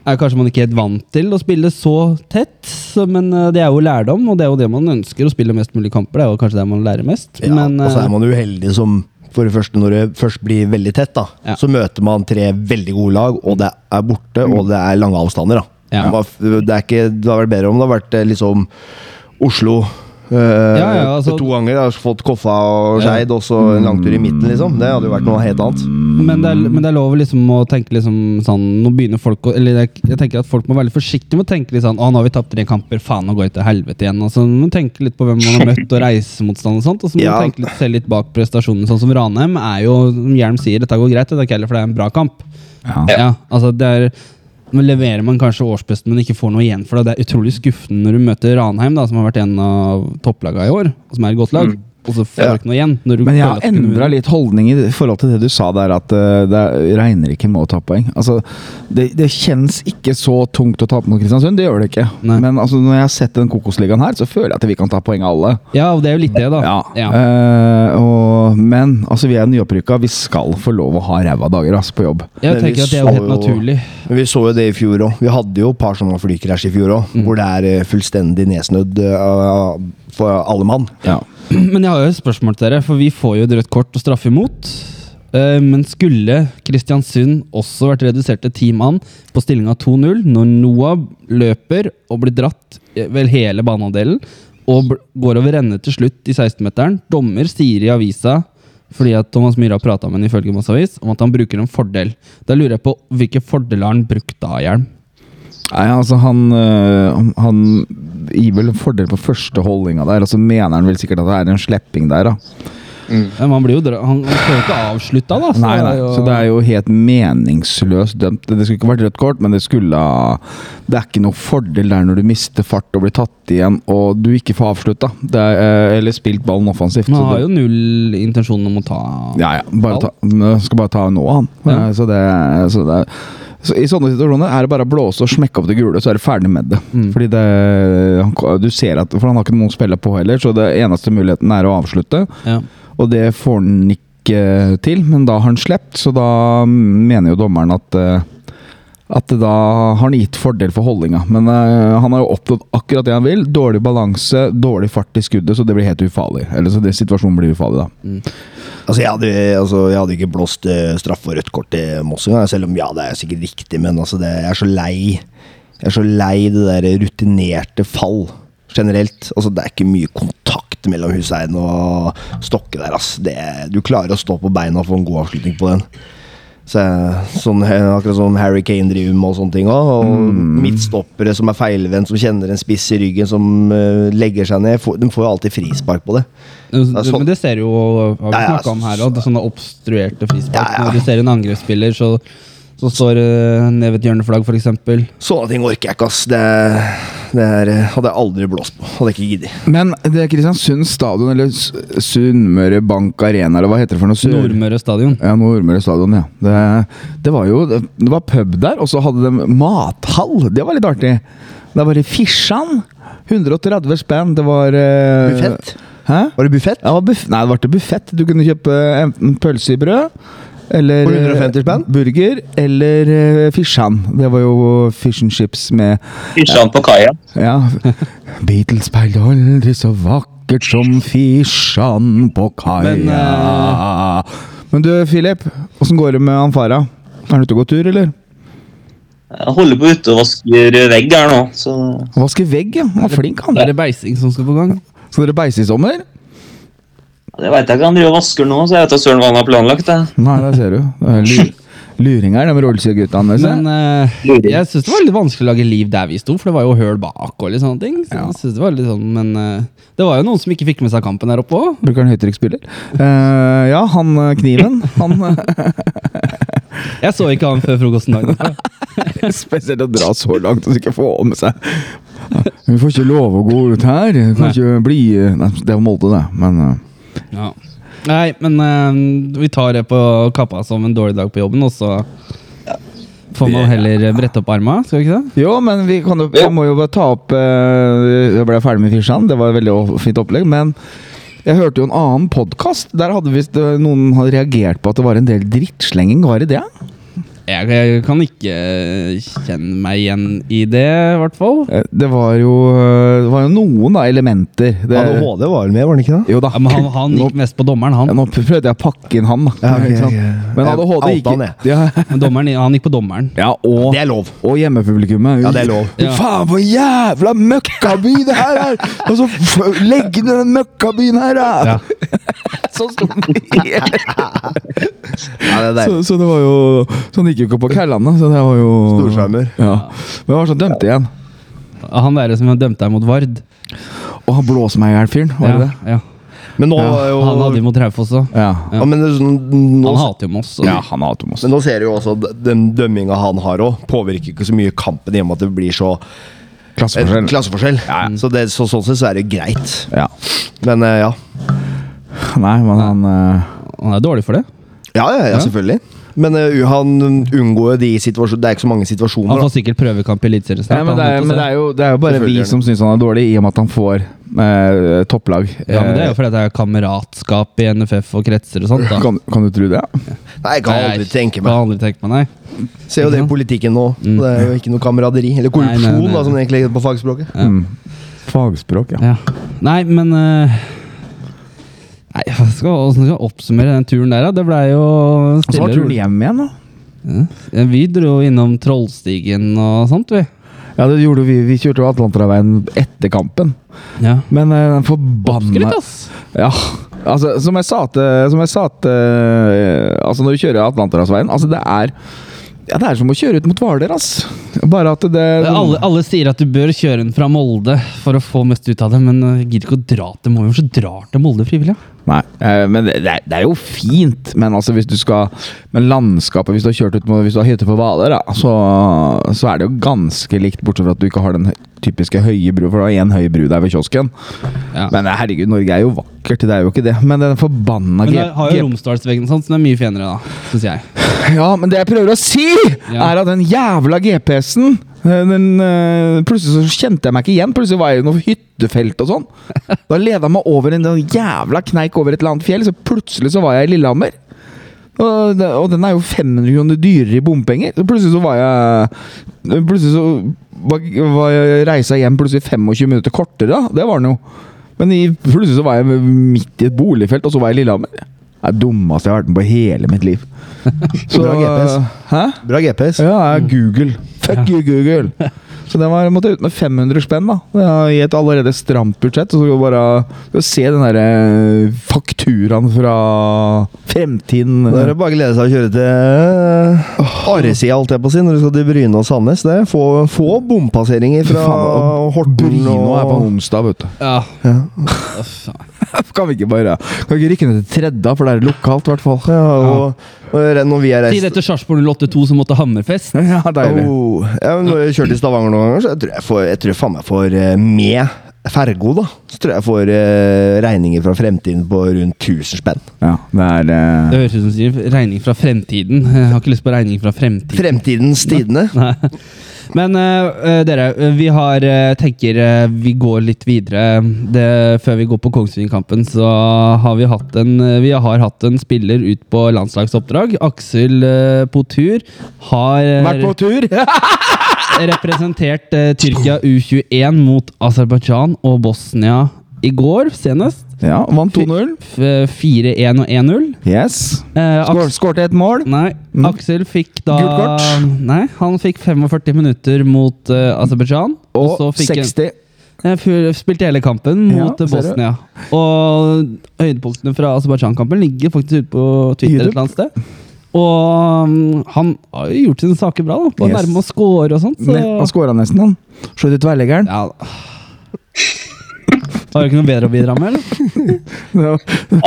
er kanskje man ikke helt vant til å spille så tett, så, men eh, det er jo lærdom, og det er jo det man ønsker, å spille mest mulig kamper. Det er jo kanskje det man lærer mest. Ja, men, og eh, så er man jo heldig som for det første, når det først blir veldig tett, da, Ja. så møter man tre veldig gode lag, og det er borte, og det er lange avstander. Da. Ja. Man- Det, er ikke, det hadde vært bedre om det hadde vært eh, liksom Oslo eh, ja, altså- to ganger. Da, fått Koffa og Skeid, og så en langtur i midten, liksom. Det hadde jo vært noe helt annet. men, det er, men det er lov liksom å tenke liksom sånn Nå begynner folk å Eller jeg, jeg tenker at folk må være litt forsiktige med å tenke litt sånn Å, nå har vi tapt tre kamper, faen, nå går jeg til helvete igjen. Og så må man tenke litt på hvem man har møtt og reisemotstand og sånt. Og så må Ja. man tenke litt, se litt bak prestasjonene. Sånn som Ranheim er jo, som Hjelm sier, dette går greit, dette er ikke heller, for det er en bra kamp. Ja. Ja, altså det er nå leverer man kanskje årsbesten, men ikke får noe igjen for det. Det er utrolig skuffende når du møter Ranheim, da, som har vært en av topplagene i år, og som er et godt lag, og så får du ikke noe igjen. Når du Men jeg føler at har du kunne endra litt holdning i forhold til det du sa der, at eh, det regner ikke med å ta poeng. Altså, det, det kjennes ikke så tungt å tape mot Kristiansund, det gjør det ikke. Nei. Men altså, når jeg har sett den Kokosligaen her, så føler jeg at vi kan ta poeng av alle. Ja, og det er jo litt det, da. Ah, Ja. Eh, og, men altså, vi er nyopprykka, vi skal få lov å ha ræva dager altså, på jobb. Jeg Men vi tenker at det er jo så helt naturlig. [CLEARS THROAT] Men vi så jo det i fjor òg. Vi hadde jo et par sånne flykrasj i fjor òg, Mm. hvor det er eh, fullstendig nedsnødd eh, for alle mann. Ja. Men jeg har jo et spørsmål til dere, for vi får jo et rødt kort og straffe imot. Eh, Men skulle Kristiansund også vært redusert til ti mann på stillinga 2-0, når Noah løper og blir dratt eh, vel hele banehalvdelen, og bl- går over ende til slutt i 16-meteren Dommer sier i avisa fordi at Thomas Myhre har prata med ham ifølge Massavis om at han bruker en fordel. Da lurer jeg på hvilke fordeler har han brukt da, Hjelm? Nei, altså, han, eh, han gir vel en fordel på første holdninga der, og så mener han vel sikkert at det er en slepping der, da. Men han blir jo dra han, han får jo ikke avslutta, da. så Nei, Altså, det er nei, jo- så det er jo helt meningsløst dømt. Det skulle ikke vært rødt kort, men det skulle Det er ikke noe fordel der når du mister fart og blir tatt igjen, og du ikke får avslutta. Det er, eh, Eller spilt ballen offensivt. Men så han har det- jo null intensjon om å ta ja, ja. Bare ta, men skal bare ta nå, han. Ja. Eh, Så det, så det så I sånne situasjoner er det bare å blåse og smekke opp det gule, så er du ferdig med det. Mm. Fordi det han, Du ser at For han har ikke noen å spille på heller, så det eneste muligheten er å avslutte. Ja. Og det får han ikke til, men da har han slept, så da mener jo dommeren at eh, at da har han gitt fordel for holdninga, men eh, han har jo oppnådd akkurat det han vil. Dårlig balanse, dårlig fart i skuddet, så det blir helt ufarlig. Eller så det, situasjonen blir ufarlig, da. Altså jeg, hadde, altså, jeg hadde ikke blåst eh, straff og rødt kort til Moss engang, selv om ja, det er sikkert riktig, men altså, det, jeg er så lei Jeg er så lei det der rutinerte fall generelt. Altså, det er ikke mye kontakt mellom Hussein og Stokke der, ass. Det, du klarer å stå på beina og få en god avslutning på den. Så, sånn, akkurat som Harry Kane driver med og sånne ting òg. Og midtstoppere som er feilvendt, som kjenner en spiss i ryggen, som eh, legger seg ned. får- De får jo alltid frispark på det. Men er sånn- det ser jo har vi Ja, ja, snakket om her også, det er sånne obstruerte frispark. Ja, Når ja. du ser en angrepsspiller, så Som står eh, ned ved et hjørneflagg, f.eks. Sånne ting orker jeg ikke, ass. Det, det er, eh, hadde jeg aldri blåst på. Hadde jeg ikke giddet. Men det er Kristiansund stadion, eller S- Sunnmøre Bank Arena, eller hva heter det for noe? Sur- Nordmøre stadion. Mm. Ja, Nordmøre stadion, ja. Det, det var jo det, det var pub der, og så hadde de mathall. Det var litt artig. Det var i Fisjan. 130 spenn. Det var eh, Buffett? Hæ? Var det buffett? Ja, det var buff Nei, det var ikke buffett. Du kunne kjøpe eh, enten pølse i brød eller eh, For 150 spenn? burger eller uh, Fisjan. Det var jo fish and chips med Hysja han på kaia. ja. Beatles speilte aldri så vakkert som fisjan på kaia. Men, Men, eh, du, Philip. Åssen går det med han fara? Er han ute og går tur, eller? Jeg holder på utevasker vegg her nå, så Han vasker vegg, ja. Han var flink, han. Da er det beising som skal på gang. Skal dere beise i sommer? det veit jeg ikke. Han driver og vasker nå, så jeg vet da søren hva han har planlagt. Jeg. Nei, der ser du. Det er lu- Luringer, de rollsegutta hans. Men eh, Luring. jeg syns det var litt vanskelig å lage liv der vi sto, for det var jo høl bak og litt sånne ting. Så Ja. jeg synes det var litt sånn, Men eh, det var jo noen som ikke fikk med seg kampen der oppe òg. Bruker han høytrykksspiller? Eh, ja, han eh, kniven. Han eh, Jeg så ikke han før frokosten dagen. [LAUGHS] Spesielt å dra så langt og ikke få med seg Vi får ikke lov å gå ut her. Vi Kan Nei. ikke bli Nei, det er jo Molde, det. Men eh, Ja. Nei, men eh, vi tar det på kappa som en dårlig dag på jobben, og så får man heller brette opp arma, skal vi ikke det? Jo, men vi kan jo, jeg må jo bare ta opp eh, Jeg ble ferdig med Fisjan, det var et veldig o- fint opplegg. Men jeg hørte jo en annen podkast. Der hadde visst eh, noen hadde reagert på at det var en del drittslenging. Var det det? Jeg, jeg kan ikke kjenne meg igjen i det, i hvert fall. Eh, Det var jo, eh, det var jo noen da, elementer. Det, ADHD var vel med, var det ikke det? jo da. Ja, men han, han gikk mest på dommeren, Ja, han. nå prøvde jeg å pakke inn han, da. Ja, ok, Ikke sant? ok. Men Jeg ADHD gikk outa han, ja, Men Dommeren, han gikk på dommeren. ja, og, Det er lov. og hjemmepublikummet. Ja, det er lov. Ja. Faen, for jævla møkkaby det her er! Og så f- legge ned den møkkabyen her, da! Ja. Sånn sto det. Ja, det er Så, deilig. så det var jo Så han gikk jo ikke på kveldene, så det var jo Storskjermer. Ja. Men det var sånn dømte igjen. Han der som dømte deg mot Vard. Og han blåste meg i hjel, fyren. Var Ja, det det? ja. Men nå er jo Han hadde jo mot Raufoss òg. Ja. ja, men det er sånn, nå, Han hater jo Moss. så- ja, han hater Moss. Men nå ser du jo også at den dømminga han har òg, påvirker ikke så mye kampen i og med at det blir så eh, Klasseforskjell. klasseforskjell. Så, det, så sånn sett så er det greit. Ja. Men eh, ja. Nei, men han eh, Han er dårlig for det. Ja, ja, ja, selvfølgelig. Men eh, han unngår jo de situasjonene Det er ikke så Han mange situasjoner. får sikkert prøvekamp i Nei, Eliteserien snart. men, det han er, vet å men det, se. er jo, det er jo bare vi Selvfølgelig. som syns han er dårlig, i og med at han får eh, topplag. Ja, men det er jo fordi det er kameratskap i NFF og kretser og sånt. Eh, da. kan, kan du tro det? da. Nei, jeg kan Nei, aldri tenke kan meg aldri tenke meg, nei. Ser jo det i politikken nå. Det er jo ikke noe kameraderi. Eller Mm. Nei, korrupsjon, nei, nei. da, som det egentlig heter på fagspråket. Mm. Fagspråk, ja. Ja. Nei, men eh, Nei, jeg skal, hvordan skal jeg oppsummere den turen der, da? Det blei jo Så stille var turen hjem igjen, da. Ja, Vi dro innom Trollstigen og sånt, vi. Ja, det gjorde vi. Vi kjørte jo Atlanterveien etter kampen. Ja. Men eh, den forbanna Skryt, ass! Ja, altså som jeg sa til Som jeg sa til eh, Altså når du kjører Atlanterhavsveien Altså det er ja, det er som å kjøre ut mot Hvaler, ass. Bare at det Alle, alle sier at du bør kjøre den fra Molde for å få mest ut av det, men jeg gidder ikke å dra til Molde, så drar til Molde frivillig. ja. Nei, eh, men det, det er- det er jo fint. Men altså hvis du skal Men landskapet, hvis du har kjørt ut mot Hvis du har hytte på Hvaler, da, så, så er det jo ganske likt, bortsett fra at du ikke har den hø- typiske høye bru, for det var én høy bru der ved kiosken. Ja. Men herregud, Norge er jo vakkert. Det er jo ikke det. Men den forbanna Men G- det har jo G- Romsdalsveggen og sånt, så det er mye fenere, da, syns jeg. Ja, men det jeg prøver å si, Ja. er at den jævla GPS-en eh, den, eh, Plutselig så kjente jeg meg ikke igjen. Plutselig var jeg i noe hyttefelt og sånn. Da leda jeg meg over en den jævla kneik over et eller annet fjell, så plutselig så var jeg i Lillehammer. Og, det- og den er jo 500 kroner dyrere i bompenger. Så plutselig så var jeg Plutselig så var, var jeg reisa hjem plutselig 25 minutter kortere, da. Det var den jo. Men i, plutselig så var jeg midt i et boligfelt, og så var jeg i Lillehammer. Det er det dummeste jeg har vært med på i hele mitt liv. Så, Bra GPS. Hæ? Bra GPS. Ja, det er Google. Fuck you, Google! Så den var, måtte jeg ut med 500 spenn, da. Det er I et allerede stramt budsjett. Og så skal vi bare skal vi se den derre fakturaen fra fremtiden. Da er det bare å glede seg å kjøre til eh, Aresida, alt jeg på å si, når du skal til Bryne og Sandnes. Det er få, få bompasseringer fra Faen, og Horten Bryne er på og onsdag, vet du. [LAUGHS] Ja. ja. Uff, nei. Kan vi ikke bare Kan vi ikke rykke ned til tredje, for det er lokalt, i hvert fall. Ja, og, og når vi har Tid reist etter Sarpsborg 082 som måtte Hammerfest. [LAUGHS] Ja, deilig. oh, ja, men Når jeg kjører til Stavanger noen ganger, så jeg tror jeg får, jeg tror faen meg får eh, med fergo, da. Så tror jeg jeg får eh, regninger fra fremtiden på rundt 1000 spenn. Ja, det er eh, Det høres ut som du sier regning fra fremtiden. [LAUGHS] Jeg har ikke lyst på regning fra fremtiden. [LAUGHS] Fremtidens tidene. Nei. Men eh, eh, dere, vi har eh, tenker eh, vi går litt videre. Det, før vi går på Kongsvinger-kampen, så har vi hatt en eh, Vi har hatt en spiller ut på landslagsoppdrag. Aksel eh, Potur har eh, Vært på tur! representert eh, Tyrkia U21 mot Aserbajdsjan og Bosnia i går senest. Ja, vant 2-0. F- 4-1 og 1-0. Yes. Eh, Aks- Skår, skårte et mål. Nei, Aksel fikk da Mm. Gult kort. Nei, han fikk 45 minutter mot eh, Aserbajdsjan. Og så fikk han- 60. Jeg fu- spilte hele kampen Ja, mot ser eh, du. Bosnia. Og høydepunktene fra Aserbajdsjan-kampen ligger faktisk ute på YouTube. Twitter et eller annet sted. Og mm, han har jo gjort sine saker bra, da. Var Yes. nærme å score og sånt. Så Ne, han skåra nesten, han. Slo ut i tverrleggeren. ja. Har du ikke noe bedre å bidra med, eller?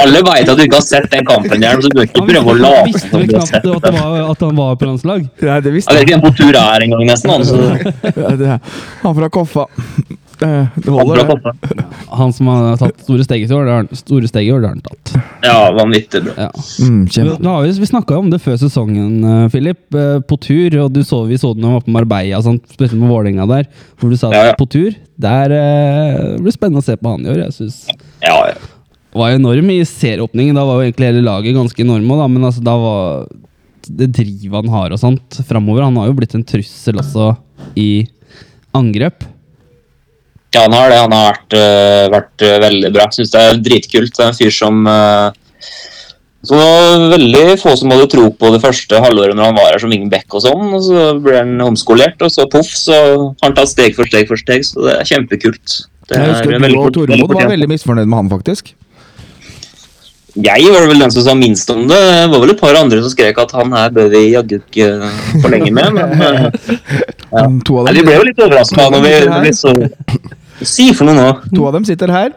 Alle veit at du ikke har sett den kampen der, så du bør ikke prøve å Han late visste som vel du har knapt sett at, det den. var, at han var på landslag. [LAUGHS] Ja, det Jeg visste vet ikke hvem på tur er engang, nesten. altså. Han, så, Ja, det er- Han fra Koffa. Eh, Det han holder, fra det. Koppa. Han som har tatt store steg i år, det har han- store steg i år, det har han tatt. ja, vanvittig bra. Ja. Mm, Vi, kjempe. da har vi vi snakka om det før sesongen, eh, Philip. eh, På tur, og du så vi så den oppe på Marbella, og sånt, spesielt med Vålerenga der. Hvor du sa at Ja, ja. på tur Der eh, blir det spennende å se på han i år. Jeg synes. Ja, ja. Det var enorm i serieåpningen. Da var jo egentlig hele laget ganske enorme, da, men altså, da var det drivet han har og sånt framover Han har jo blitt en trussel også i angrep. Ja, han har det. Han har vært, øh, vært øh, veldig bra. Syns det er dritkult. Det er en fyr som øh, Så det var veldig få som hadde tro på det første halvåret når han var her som wingback og sånn. og Så ble han omskolert, og så poff, så har han tatt steg for steg for steg. Så det er kjempekult. Jeg Det er husker du og fort- Tormod var fortjent. veldig misfornøyd med han, faktisk. Jeg var vel den som sa minst om det. Det var vel et par andre som skrek at han her bør vi jaggu ikke eh, forlenge med, men øh, Ja. Mm, To av Nei, Vi dem, ble jo litt overraska når vi, når vi så Si for noe nå. to av dem sitter her.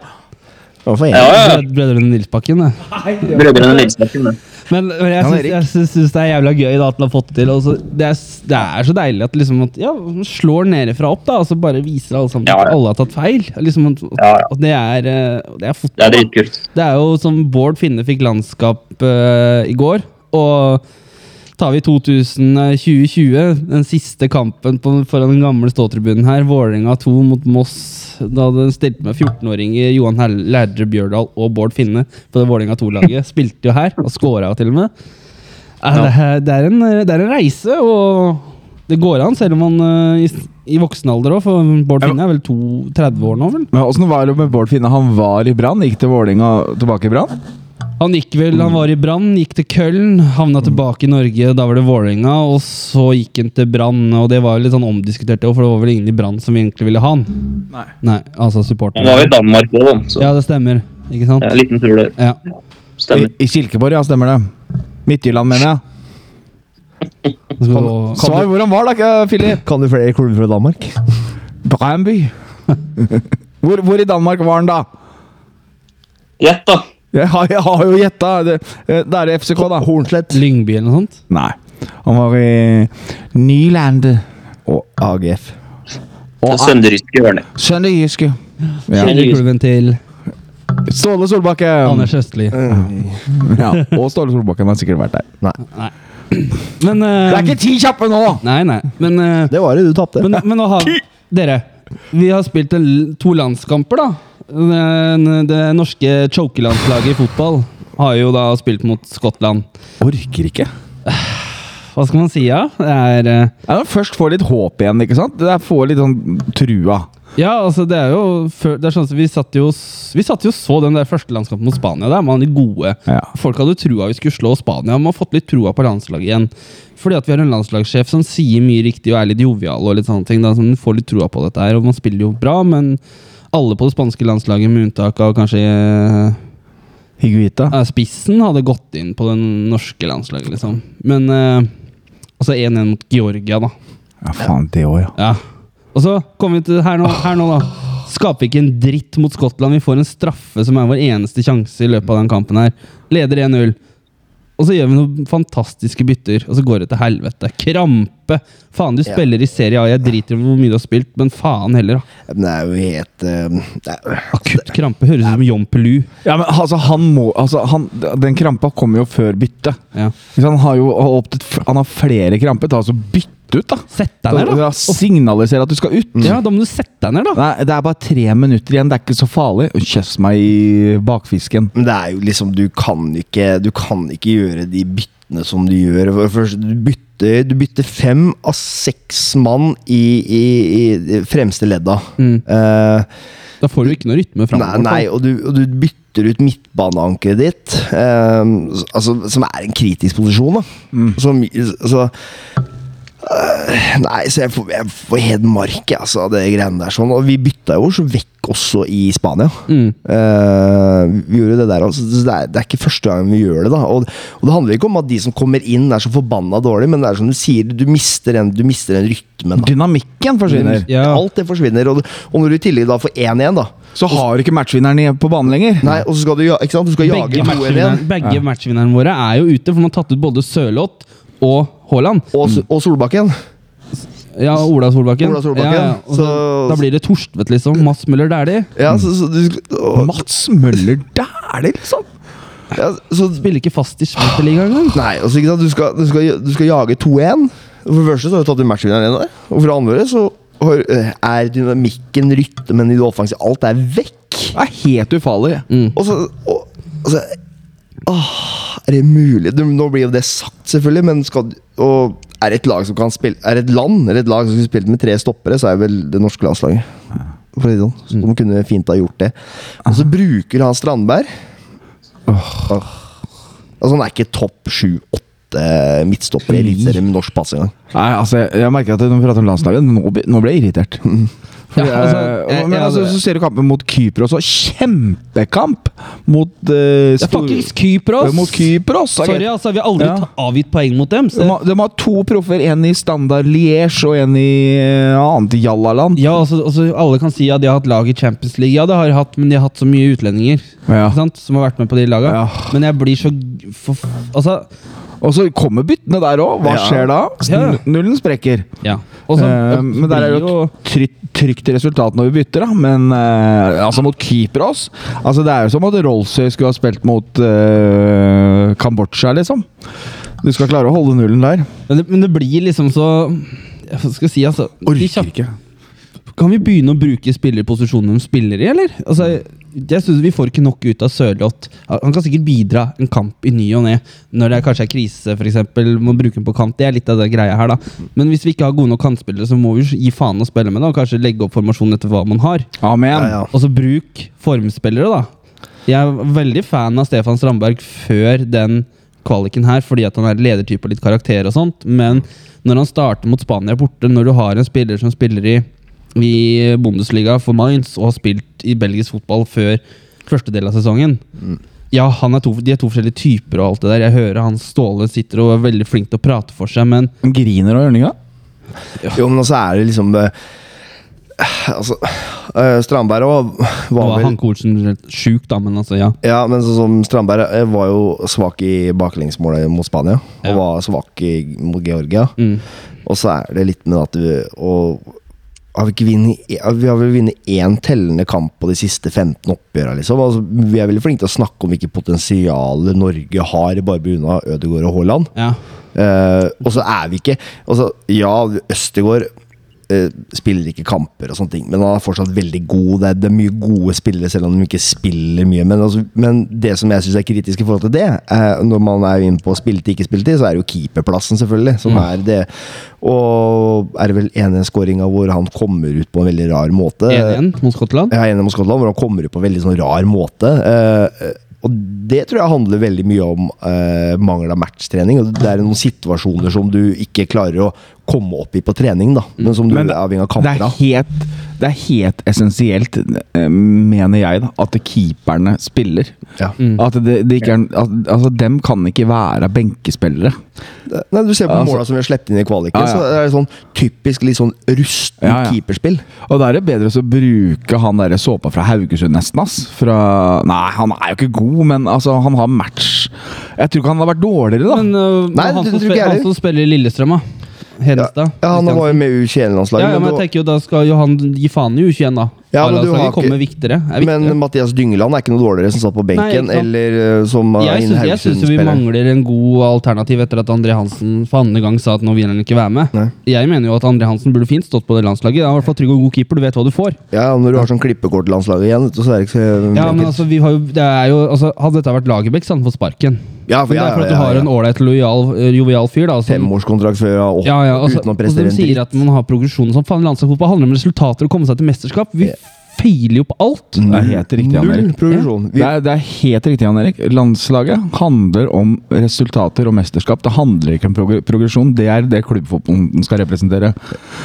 Hvorfor Ja, jeg? ja. ja. Brød- Brødrene Nilsbakken, det. Brødrene Nilsbakken. det. Men, men jeg, Ja, syns, Erik. jeg syns, syns det er jævla gøy da, at han har fått det til. og så- det, er, s- det er så deilig at, liksom, at ja, han slår nedefra opp, da, og så bare viser alle sammen Ja, at ja. alle har tatt feil. Liksom, at, at, Ja, ja. at det er, eh, det er Det fotball. er da. dritkult. Det er jo som Bård Finne fikk landskap eh, i går. Og tar vi 2020, den siste kampen på, foran den gamle ståtribunen her, Vålerenga 2 mot Moss, da den stilte med 14-åringer Johan Hell- Lærdre Bjørdal og Bård Finne på det Vålerenga 2-laget, spilte jo her og scora til og med. Eh, det, er, det, er en, det er en reise, og det går an, selv om man eh, i, s- i voksen alder òg, for Bård Finne er vel to, 30 år nå, vel? Men Åssen var det med Bård Finne? Han var i Brann, gikk til Vålerenga, tilbake i Brann? Han gikk vel, han var i Brann, gikk til Køln, havna Mm. tilbake i Norge, da var det Vålerenga, og så gikk han til Brann, og det var jo litt sånn omdiskutert, for det var vel ingen i Brann som egentlig ville ha han. Nei. Nei, altså Han var supporterne. jo i Danmark òg, så Ja, det stemmer, ikke sant? ja, liten tur der. Ja. I, Stemmer. I Kilkeborg, ja, stemmer det. Midtjylland, mener jeg. Så, Svar hvor han var, da, ikke, Philip. Kan du flere klubber fra Danmark? Brøndby. [LAUGHS] Hvor, hvor i Danmark var han da? Gjett, da. Jeg har, jeg har jo gjetta. Det, eh, da er det FCK, da. Hornslett. Lyngby eller noe sånt? Nei. Han var i Nyland Og AGF. Det Sønderjyske hjørnet. Sønderjyske. Ja. Klubben til Ståle Solbakken. Anders Østli. Mm. Ja, og Ståle Solbakken har sikkert vært der. Nei. Men Det eh, er ikke ti kjappe nå! Nei, nei. Men eh, Det var det du tapte. Men, men nå har dere Vi har spilt en, to landskamper, da. Det, det norske chokelandslaget i fotball har jo da spilt mot Skottland. Orker ikke. Hva skal man si, ja? Det er eh, Ja, men først få litt håp igjen, ikke sant? Det er Få litt sånn trua. Ja, altså, det er jo før, det er sånn, som Vi satt jo s- Vi satt jo og så den der første landskampen mot Spania. Der man de gode. Ja. Folk hadde trua vi skulle slå Spania. Man har fått litt trua på landslaget igjen. Fordi at vi har en landslagssjef som sier mye riktig og er litt jovial. og litt sånne ting da, så man får litt trua på dette her, og man spiller jo bra, men alle på det spanske landslaget, med unntak av kanskje eh, Higuita. ja, spissen hadde gått inn på det norske landslaget, liksom. Men eh, altså 1-1 mot Georgia, da. Ja, faen, det òg, ja. Ja. Og så kommer vi til her nå, her nå da. Skaper ikke en dritt mot Skottland. Vi får en straffe som er vår eneste sjanse i løpet av den kampen her. Leder 1-0. Og så gjør vi noen fantastiske bytter, og så går det til helvete. Krampe! Faen, du Ja. spiller i Serie A, jeg driter i hvor mye du har spilt, men faen heller, da. Men det er jo helt eh, det er, Akutt krampe høres ut som John Pelu. Ja, men altså, han må altså, han, Den krampa kommer jo før byttet. Ja. Hvis Han har jo har opp til, f- han har flere kramper. Ta altså Bytt ut, da! Sett deg ned, da! Ja, Signaliser at du skal ut. Ja, da må du sette deg ned, da! Nei, det er bare tre minutter igjen. Det er ikke så farlig. Kjøss meg i bakfisken. Men det er jo liksom Du kan ikke, du kan ikke gjøre de byttene som du gjør. For det første, du bytter, du bytter fem av seks mann i, i, i de fremste ledda. Eh, Da får du ikke noe rytme nei, framover. nei, og du, og du bytter ut midtbaneankeret ditt, eh, s- altså, som er en kritisk posisjon. Da. Mm. Som, altså, eh, nei, så jeg får, jeg får helt mark, jeg, altså, det greiene der. Sånn. Og vi bytta jo så vekk også i Spania. Mm. Eh, vi gjorde det der også. så Det er, det er ikke første gang vi gjør det. da og, og det handler ikke om at de som kommer inn, er så forbanna dårlig, men det er som du sier, du mister den, du mister den rytmen. da Dynamikken forsvinner. Ja. Alt det forsvinner. Og, og når du i tillegg da får 1-1, da Så har ikke matchvinneren i- på banen lenger. Nei, og så skal du, ja- ikke sant? Du skal jage Begge, 2-1 matchvinneren- begge matchvinnerne våre er jo ute, for man har tatt ut både Sørloth og Haaland. og, s- og Solbakken. Ja, Ola Solbakken. Ola Solbakken. Ja, ja. Og Så- så, da blir det Torstvedt, liksom. Mads Møller Dæhlie. Ja, så, så, du, og, Mats Møller Dæhlie, liksom! ja, så Spiller ikke fast i Superligaen engang. Nei, altså, ikke sant? Du, skal, du, skal, du skal jage 2-1. For det første så har du tatt ut matchvinneren igjen der. Og for det andre så har, eh, er dynamikken, rytmen i det offensive Alt er vekk. Det er helt ufarlig. Mm. Og så og, altså, åh, Er det mulig? Du, nå blir jo det sagt, selvfølgelig, men skal du- og er det et lag som kan spille Er det et land eller et lag som skulle spilt med tre stoppere, så er vel det norske landslaget. For å si det sånn. Så de kunne fint ha gjort det. Og så bruker han Strandberg. Åh. Altså, han er ikke topp sju-åtte midtstopper i Eliteserien med norsk pass engang. Nei, altså, jeg, jeg merker at når vi prater om landslaget, nå, ble- nå ble jeg irritert. Fordi, [LAUGHS] Ja, altså, eh, jeg- men jeg altså, hadde- så ser du kampen mot Kypros også. Kjempekamp mot uh, Det er fuckings Kypros! Mot Kypros! da, Sorry, gitt. altså. Vi har aldri Ja. ta- avgitt poeng mot dem. De Så. har, de har to proffer, en i standard Liège og en i eh, annet Jallaland. Ja, altså, altså, alle kan si at de har hatt lag i Champions League. Ja, det har de hatt, men de har hatt så mye utlendinger Ja. ikke sant? som har vært med på de laga. Ja. Men jeg blir så g- for, Altså, Og så kommer byttene der òg. Hva Ja. skjer da? Ja. Nullen sprekker. ja. Og så- Eh, men der er det blir jo et trygt, trygt resultat når vi bytter, da. Men eh, altså mot Kypros altså Det er jo som at Rolsøy skulle ha spilt mot eh, Kambodsja, liksom. Du skal klare å holde nullen der. men, det, men det blir liksom så Hva skal jeg si, altså de kjappe- ikke. Kan vi begynne å bruke spillerposisjonen de spiller i, eller? Altså, jeg synes Vi får ikke nok ut av Sørloth. Han kan sikkert bidra en kamp i ny og ne når det kanskje er krise, f.eks. Må bruke ham på kant. Det er litt av det greia her, da. Men hvis vi ikke har gode nok kantspillere, så må vi jo gi faen å spille med, da. Og kanskje legge opp formasjonen etter hva man har. Amen. Ja, ja. Og så bruk formspillere, da. Jeg er veldig fan av Stefan Strandberg før den kvaliken her, fordi at han er ledertype og litt karakter og sånt. Men når han starter mot Spania borte, når du har en spiller som spiller i, i Bundesliga for Mainz og har spilt i belgisk fotball før første del av sesongen Mm. Ja, han er to, de er to forskjellige typer og alt det der. Jeg hører han Ståle sitter og er veldig flink til å prate for seg, men Han griner av ørninga. Jo, men også er det liksom eh, Altså, eh, Strandberg òg nå var er vel han coachen sjuk, da, men altså, ja. Ja, men sånn som Strandberg eh, var jo svak i baklengsmålet mot Spania. Og Ja. var svak i, mot Georgia. Mm. Og så er det litt med at vi, og, har vi, ikke vunnet- ja, vi har vel vunnet én tellende kamp på de siste 15 oppgjørene. Liksom. Altså, vi er veldig flinke til å snakke om hvilket potensial Norge har, bare pga. Ødegaard og Haaland. ja. Eh, og så er vi ikke og så, Ja, Østegård eh, spiller ikke kamper og sånne ting, men han er fortsatt veldig god. Det er, det er mye gode spillere, selv om de ikke spiller mye. Men, altså, men det som jeg syns er kritisk i forhold til det, eh, når man er inne på spilte, ikke spilte, så er det jo keeperplassen, selvfølgelig, som er det. Og er det vel enighetskåringa hvor han kommer ut på en veldig rar måte. 1-1 mot Skottland. Jeg er enig med Skottland, hvor han kommer ut på en veldig sånn rar måte. Eh, og det tror jeg handler veldig mye om eh, mangel av matchtrening. Og det er noen situasjoner som du ikke klarer å komme opp i på trening, da. Men som du Men er avhengig av Det kamper er av. helt, det er helt essensielt, eh, mener jeg, da, at keeperne spiller. Ja. At det, det ikke er, at, altså, dem kan ikke være benkespillere. Nei, du ser på Altså- måla som vi har sluppet inn i kvaliken, Ja, ja. så er det sånn typisk litt sånn rusten Ja, ja. keeperspill. Og da er det bedre å bruke han derre såpa fra Haugesund, nesten, ass. Fra Nei, han er jo ikke god, men altså, han har match. Jeg tror ikke han hadde vært dårligere, da. Men øh, Nei, han, det som tror spiller, ikke jeg han heller. som spiller i Lillestrøm, da. Ja, Hedenstad. ja, han var jo med i U21-landslaget. ja, ja, men jeg tenker jo Da skal jo han gi faen i U21, da. Ja, men du har A-landslaget ikke- kommer viktigere. Er viktigere. men, men Mathias Dyngeland er ikke noe dårligere som satt på benken, ikke sant. eller eh, som eh, jeg innen syns, jeg syns jo vi Haugesund-spilleren. mangler en god alternativ etter at André Hansen for andre gang sa at nå vil han ikke være med. Nei. Jeg mener jo at André Hansen burde fint stått på det landslaget. Han er i hvert fall trygg og god keeper, du vet hva du får. Ja, Når du har sånn klippekortlandslag igjen, vet du, så er det ikke så Ja, men altså, vi har jo, det er jo, altså, Hadde dette vært Lagerbäck, så hadde han fått sparken. Ja, for- men det ja, er for ja, at du ja, har ja. en ålreit, lojal, jovial fyr. da som- Femårskontrakt før jeg opp, ja, ja, altså, uten å og som prestere en sier dritt. at man har progresjon og sånn. Faen, landslagsfotball handler om resultater og komme seg til mesterskap. Vi feiler jo på alt. Mm. Det er helt riktig, Jan Null Erik. progresjon. Vi, Det er, det er helt riktig, Jan Erik. Landslaget handler om resultater og mesterskap. Det handler ikke om prog progresjon. Det er det klubbfotballen skal representere.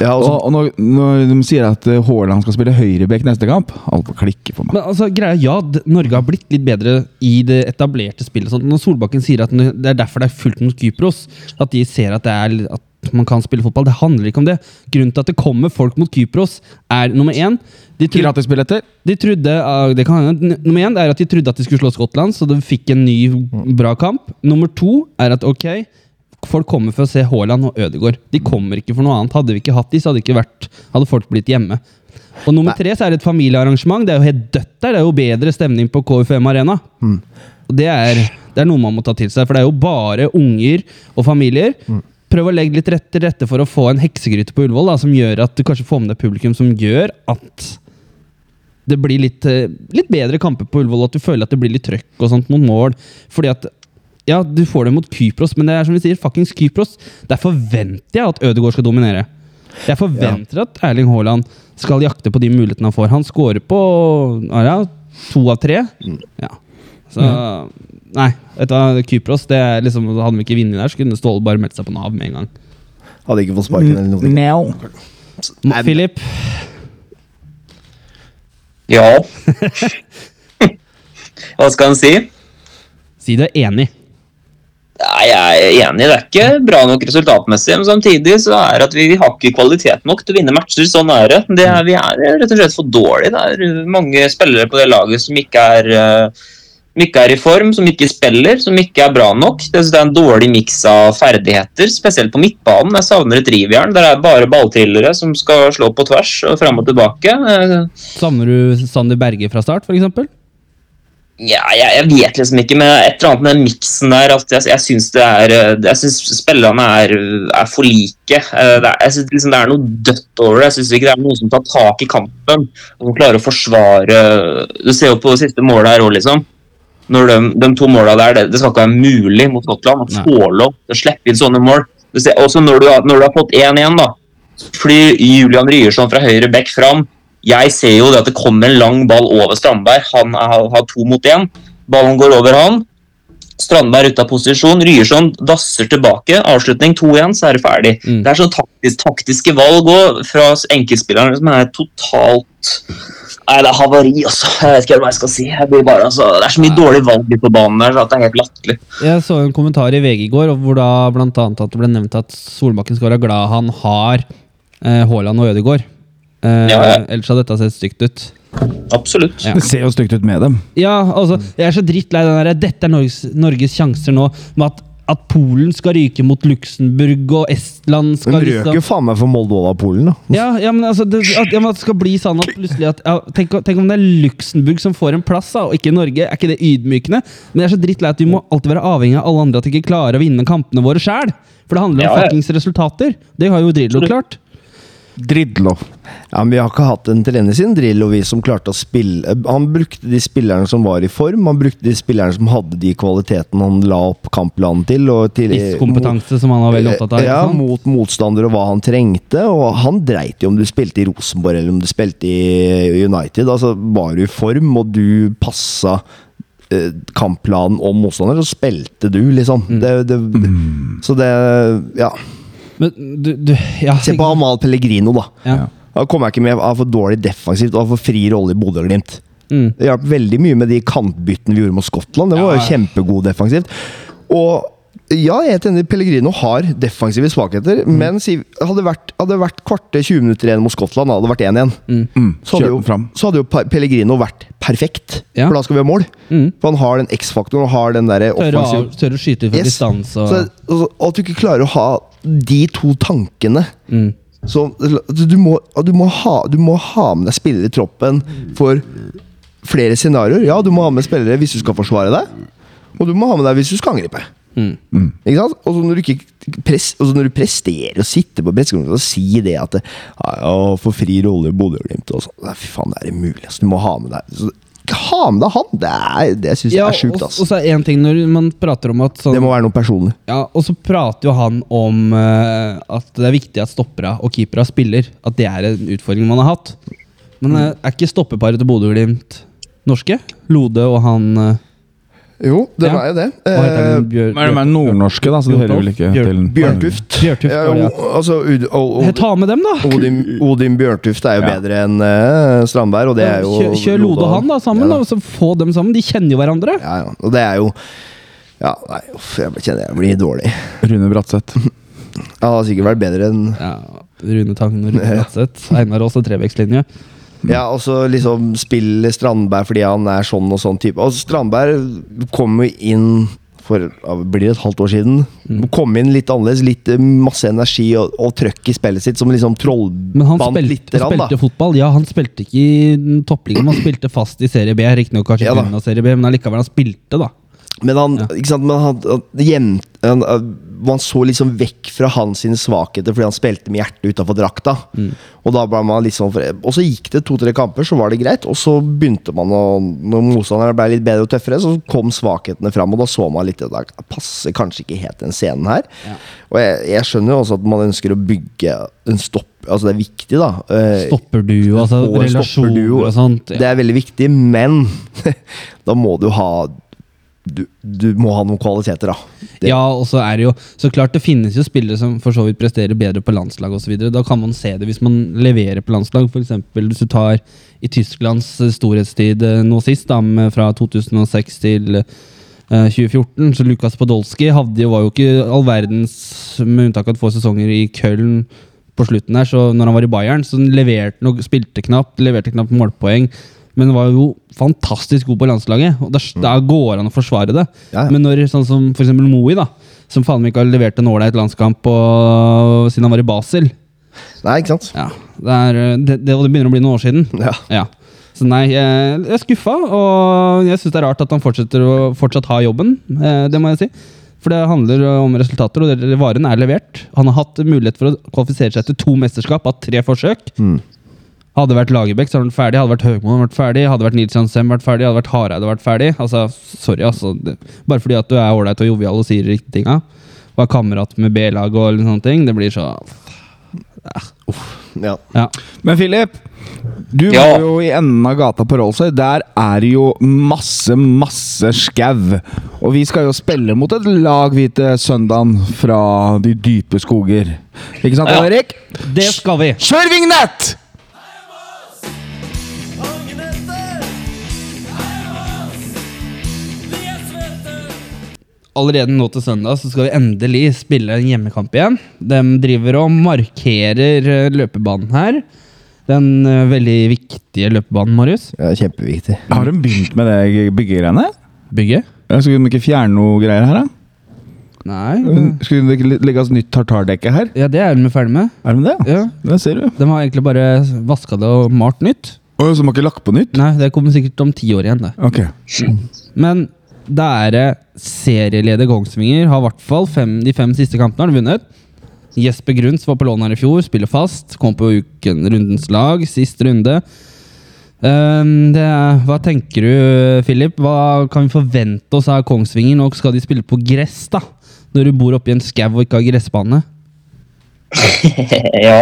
ja, Og, og så- og når, når de sier at eh, Haaland skal spille høyrebekk neste kamp Alt klikker for meg. Men altså, greia, ja, d- Norge har blitt litt bedre i det etablerte spillet. og Sånn. Når Solbakken sier at n- det er derfor det er fullt mot Kypros, at de ser at, det er, l- at man kan spille fotball, det handler ikke om det. Grunnen til at det kommer folk mot Kypros, er nummer én de tror- Gratisbilletter? De trodde, ja, det kan hende. N- Nummer én det er at de trodde at de skulle slå Skottland, så de fikk en ny bra kamp. Nummer to er at ok, folk kommer for å se Haaland og Ødegaard. De kommer ikke for noe annet. Hadde vi ikke hatt de, så hadde, det ikke vært, hadde folk blitt hjemme. Og nummer tre så er det et familiearrangement. Det er jo helt dødt der. Det er jo bedre stemning på KUFM Arena. Og det er, det er noe man må ta til seg, for det er jo bare unger og familier. Prøv å legge litt rett til rette for å få en heksegryte på Ullevål, da, som gjør at du kanskje får med deg publikum som gjør at det blir litt, eh, litt bedre kamper på Ullevål, at du føler at det blir litt trøkk og sånt mot mål. Fordi at Ja, du får det mot Kypros, men det er som vi sier, fuckings Kypros. Der forventer jeg at Ødegaard skal dominere. Jeg forventer at Erling Haaland skal jakte på de mulighetene han får. Han scorer på ja, ja, to av tre. Ja. Så Nei, vet du hva, Kypros det er liksom, Hadde vi ikke vunnet der, så kunne Ståle bare meldt seg på Nav med en gang. hadde ikke fått sparken eller noe. Mo- Philip, Ja [LAUGHS] Hva skal en si? si du er enig. Nei, jeg er enig, det er ikke bra nok resultatmessig. Men samtidig så er det at vi har ikke kvalitet nok til å vinne matcher. Sånn er det. det er, vi er rett og slett for dårlige. Det er mange spillere på det laget som ikke er eh, som ikke er i form, som ikke spiller, som ikke er bra nok. Det det er en dårlig miks av ferdigheter, spesielt på midtbanen. Jeg savner et drivjern. Der er bare balltrillere som skal slå på tvers og fram og tilbake. Eh, Savner du Sander Berge fra start, f.eks.? Ja, jeg, jeg vet liksom ikke, men et eller annet med den miksen der at Jeg, jeg syns det er eh, Jeg synes spillerne er, eh, er for like. Eh, Det er, jeg synes liksom det er noe dødt over det. Jeg syns ikke det er noen som tar tak i kampen og som klarer å forsvare eh, Du ser jo på det siste målet her òg, liksom. Når de, de to måla der, det, det skal ikke være mulig mot Skottland å Nei. få lov til å slippe inn sånne mål. Du ser, også når du, har- når du har fått 1-1, da. Flyr Julian Ryerson fra høyre back fram. Jeg ser jo det at det kommer en lang ball over Strandberg. Han er, har to mot én. Ballen går over han. Strandberg ute av posisjon. Ryerson dasser tilbake. Avslutning 2-1, så er det ferdig. Mm. Det er sånn taktisk, taktiske valg òg fra s- enkeltspillerne som er totalt Nei, det er havari, altså. Jeg vet ikke hva jeg skal si. Jeg blir bare, altså, det er så mye dårlige valg ute på banen der, så at det er helt latterlig. Jeg så en kommentar i VG i går hvor da blant annet at det ble nevnt at Solbakken skal være glad han har eh, Haaland og Ødegaard. Eh, Ja, ja. Ellers hadde dette sett stygt ut. Absolutt. Ja. Det ser jo stygt ut med dem. Ja, altså, Jeg er så drittlei den derre 'dette er Norges, Norges sjanser nå', med at, at Polen skal ryke mot Luxembourg og Estland De skal røk jo liksom faen meg for Moldova og Polen, da. ja, ja, men altså, det, at, ja, men at det skal bli sånn at plutselig at, ja, tenk, tenk om det er Luxembourg som får en plass, da, og ikke Norge. Er ikke det ydmykende? Men jeg er så drittlei at vi må alltid være avhengig av alle andre at de ikke klarer å vinne kampene våre sjæl. For det handler om Ja, ja. fuckings resultater. Det har jo Drillo klart. Dridlo. Ja, men Vi har ikke hatt en trener siden Drillo, vi som klarte å spille Han brukte de spillerne som var i form, han brukte de spillerne som hadde de kvalitetene han la opp kampplanen til. Og til Spisskompetanse, som han var veldig opptatt av. Eh, Ja, ikke sant? mot motstander og hva han trengte. Og han dreit i om du spilte i Rosenborg eller om du spilte i United. Altså, Var du i form og du passa eh, Mm. kampplanen om motstander, så spilte du, liksom. Det, det, Så det Ja. Men du, du ja, Se på Amal Pellegrino, da. Ja. Da kom jeg ikke med av for dårlig defensivt og for fri rolle i Bodø og Glimt. Mm. Det hjalp veldig mye med de kantbyttene vi gjorde mot Skottland. Det Ja. var jo kjempegod defensivt. Og ja, jeg er helt enig, Pellegrino har defensive svakheter, Mm. men si, hadde det vært, hadde det vært kvarter 20 minutter igjen mot Skottland, da hadde det vært 1-1. Mm. Så, Mm. Kjør hadde jo- den fram. så hadde jo Pa- Pellegrino vært perfekt, Ja. for da skal vi ha mål. Mm. For han har den X-faktoren og har den derre Tørre, å, offensiv tørre å skyte ut fra Yes. distanse og Så, og, og at du ikke klarer å ha de to tankene mm. så altså, du må, du, må ha, du må ha med deg spillere i troppen for flere scenarioer. Ja, du må ha med spillere hvis du skal forsvare deg, og du må ha med deg hvis du skal angripe. Mm. Ikke sant? Og så når du ikke press, og så når du presterer og sitter på pressekonferansen og sier det at det, ja, ja, for fri rolle i Bodø og Glimt og sånn Nei, Fy faen, det er umulig. Altså, du må ha med deg så, Ha med deg han! Det, er, det syns jeg Ja, er sjukt, og, ass. og så er en ting når man prater om at sånn, Det må være noe personlig. Ja, og så prater jo han om eh, at det er viktig at stoppere og keepere spiller. At det er en utfordring man har hatt. Men eh, er ikke stoppeparet til Bodø-Glimt norske? Lode og han eh, Jo, det Ja. var jo det. Hva heter Eh, han? Bjør, Men de er nordnorske, da, så du Bjørn- hører vel ikke Bjørn- til Bjørntuft. Bjørtuft, Ja, var det, ja. og- altså, Ud- og- og- Bjør- Ta med dem, da! Odin, Odin Bjørtuft er jo Ja. bedre enn eh, Strandberg, og det er jo kjør, kjør Lode og han da sammen, Ja, og så få dem sammen. De kjenner jo hverandre. Ja, ja. Og det er jo Ja, nei, uff, jeg kjenner jeg blir dårlig. Rune Bratseth. Jeg hadde sikkert vært bedre enn Ja, Rune Tangen og Rune Bratseth. Einar Aas og trebekslinje. Ja, og så liksom spille Strandberg fordi han er sånn og sånn type. Og Strandberg kom jo inn for ja, blir det et halvt år siden. Mm. Kom inn litt annerledes. Litt eh, masse energi og, og trøkk i spillet sitt, som liksom Men han trollbandt spilte, lite grann, da. spilte fotball. Ja, han spilte ikke i den toppligaen, men han spilte fast i serie B. Riktignok kanskje Ja ja, da. av serie B, men allikevel, han spilte, da. Men han, Ja. ikke sant, men han, han, gjem- han, øh, man så liksom vekk fra hans sine svakheter fordi han spilte med hjertet utafor drakta. Mm. Og da ble man liksom for, Og så gikk det to-tre kamper, så var det greit. Og så begynte man å Når motstanderne ble litt bedre og tøffere, så kom svakhetene fram. Og da så man litt at det passer kanskje ikke helt den scenen her. Ja. Og jeg, jeg skjønner jo også at man ønsker å bygge en stopp Altså, det er viktig, da. Eh, Stopper du, altså og en relasjoner stopperduo. og sånt. Det Ja. er veldig viktig, men [LAUGHS] da må du ha du, du må ha noen kvaliteter, da. Det, ja, og så er det jo Så klart det finnes jo spillere som for så vidt presterer bedre på landslag osv. Da kan man se det hvis man leverer på landslag. For eksempel hvis du tar i Tysklands eh, storhetstid eh, nå sist, da, med- fra 2006 til eh, 2014, så Lukas Podolsky hadde jo, var jo ikke all verdens, med unntak av få sesonger i Köln på slutten her, så når han var i Bayern, så leverte han og spilte knapt, leverte knapt målpoeng, men var jo fantastisk god på landslaget, og der, der går han å forsvare det. Mm. Ja, ja. Men når sånn som for eksempel Moi da, som faen meg ikke har levert en ålreit landskamp og, siden han var i Basel, Nei, ikke sant? ja, det, er, det, det, og det begynner å bli noen år siden. Ja. Ja. Så nei, jeg jeg er skuffa, og jeg syns det er rart at han fortsetter å fortsatt ha jobben. eh, Det må jeg si. For det handler om resultater, og det- varen er levert. Han har hatt mulighet for å kvalifisere seg til to mesterskap, hatt tre forsøk. Hmm. Hadde det vært Lagerbäck, så hadde han vært ferdig. Hadde det vært Høgmo, hadde han vært ferdig. Hadde det vært Nils Jansem, vært ferdig. Hadde det vært Hareide, vært ferdig. Altså, sorry, altså. Det, bare fordi at du er ålreit og jovial og sier riktige tinga, og er kamerat med B-laget og litt sånne ting, det blir så Ja. Ja. Men Philip, du Ja. var jo i enden av gata på Rollsøy. Der er det jo masse, masse skau. Og vi skal jo spille mot et lag vi til søndagen fra de dype skoger. Ikke sant, Ja. Erik? Det skal vi! Kjør vignett! allerede nå til søndag så skal vi endelig spille en hjemmekamp igjen. De driver og markerer eh, løpebanen her. Den eh, veldig viktige løpebanen, Marius. ja, kjempeviktig. Har de begynt med det byggegreiene? Bygget? Ja, Skulle de ikke fjerne noe greier her, da? Nei. det- Skulle de ikke legge oss nytt tartardekke her? Ja, det er de ferdig med. Er de det? Ja. Det ser du. De har egentlig bare vaska det og malt nytt. Å, så de har ikke lagt på nytt? Nei, det kommer sikkert om ti år igjen, det. Ok. Men da er det serieleder Kongsvinger. Har i hvert fall fem, de fem siste kampene har de vunnet. Jesper Grunds var på lån her i fjor, spiller fast. Kom på uken, rundens lag, sist runde. Ehm, det, er- hva tenker du, Philip? Hva kan vi forvente oss av Kongsvinger? Nå skal de spille på gress, da. Når du bor oppi en skau og ikke har gressbane. [LAUGHS] ja.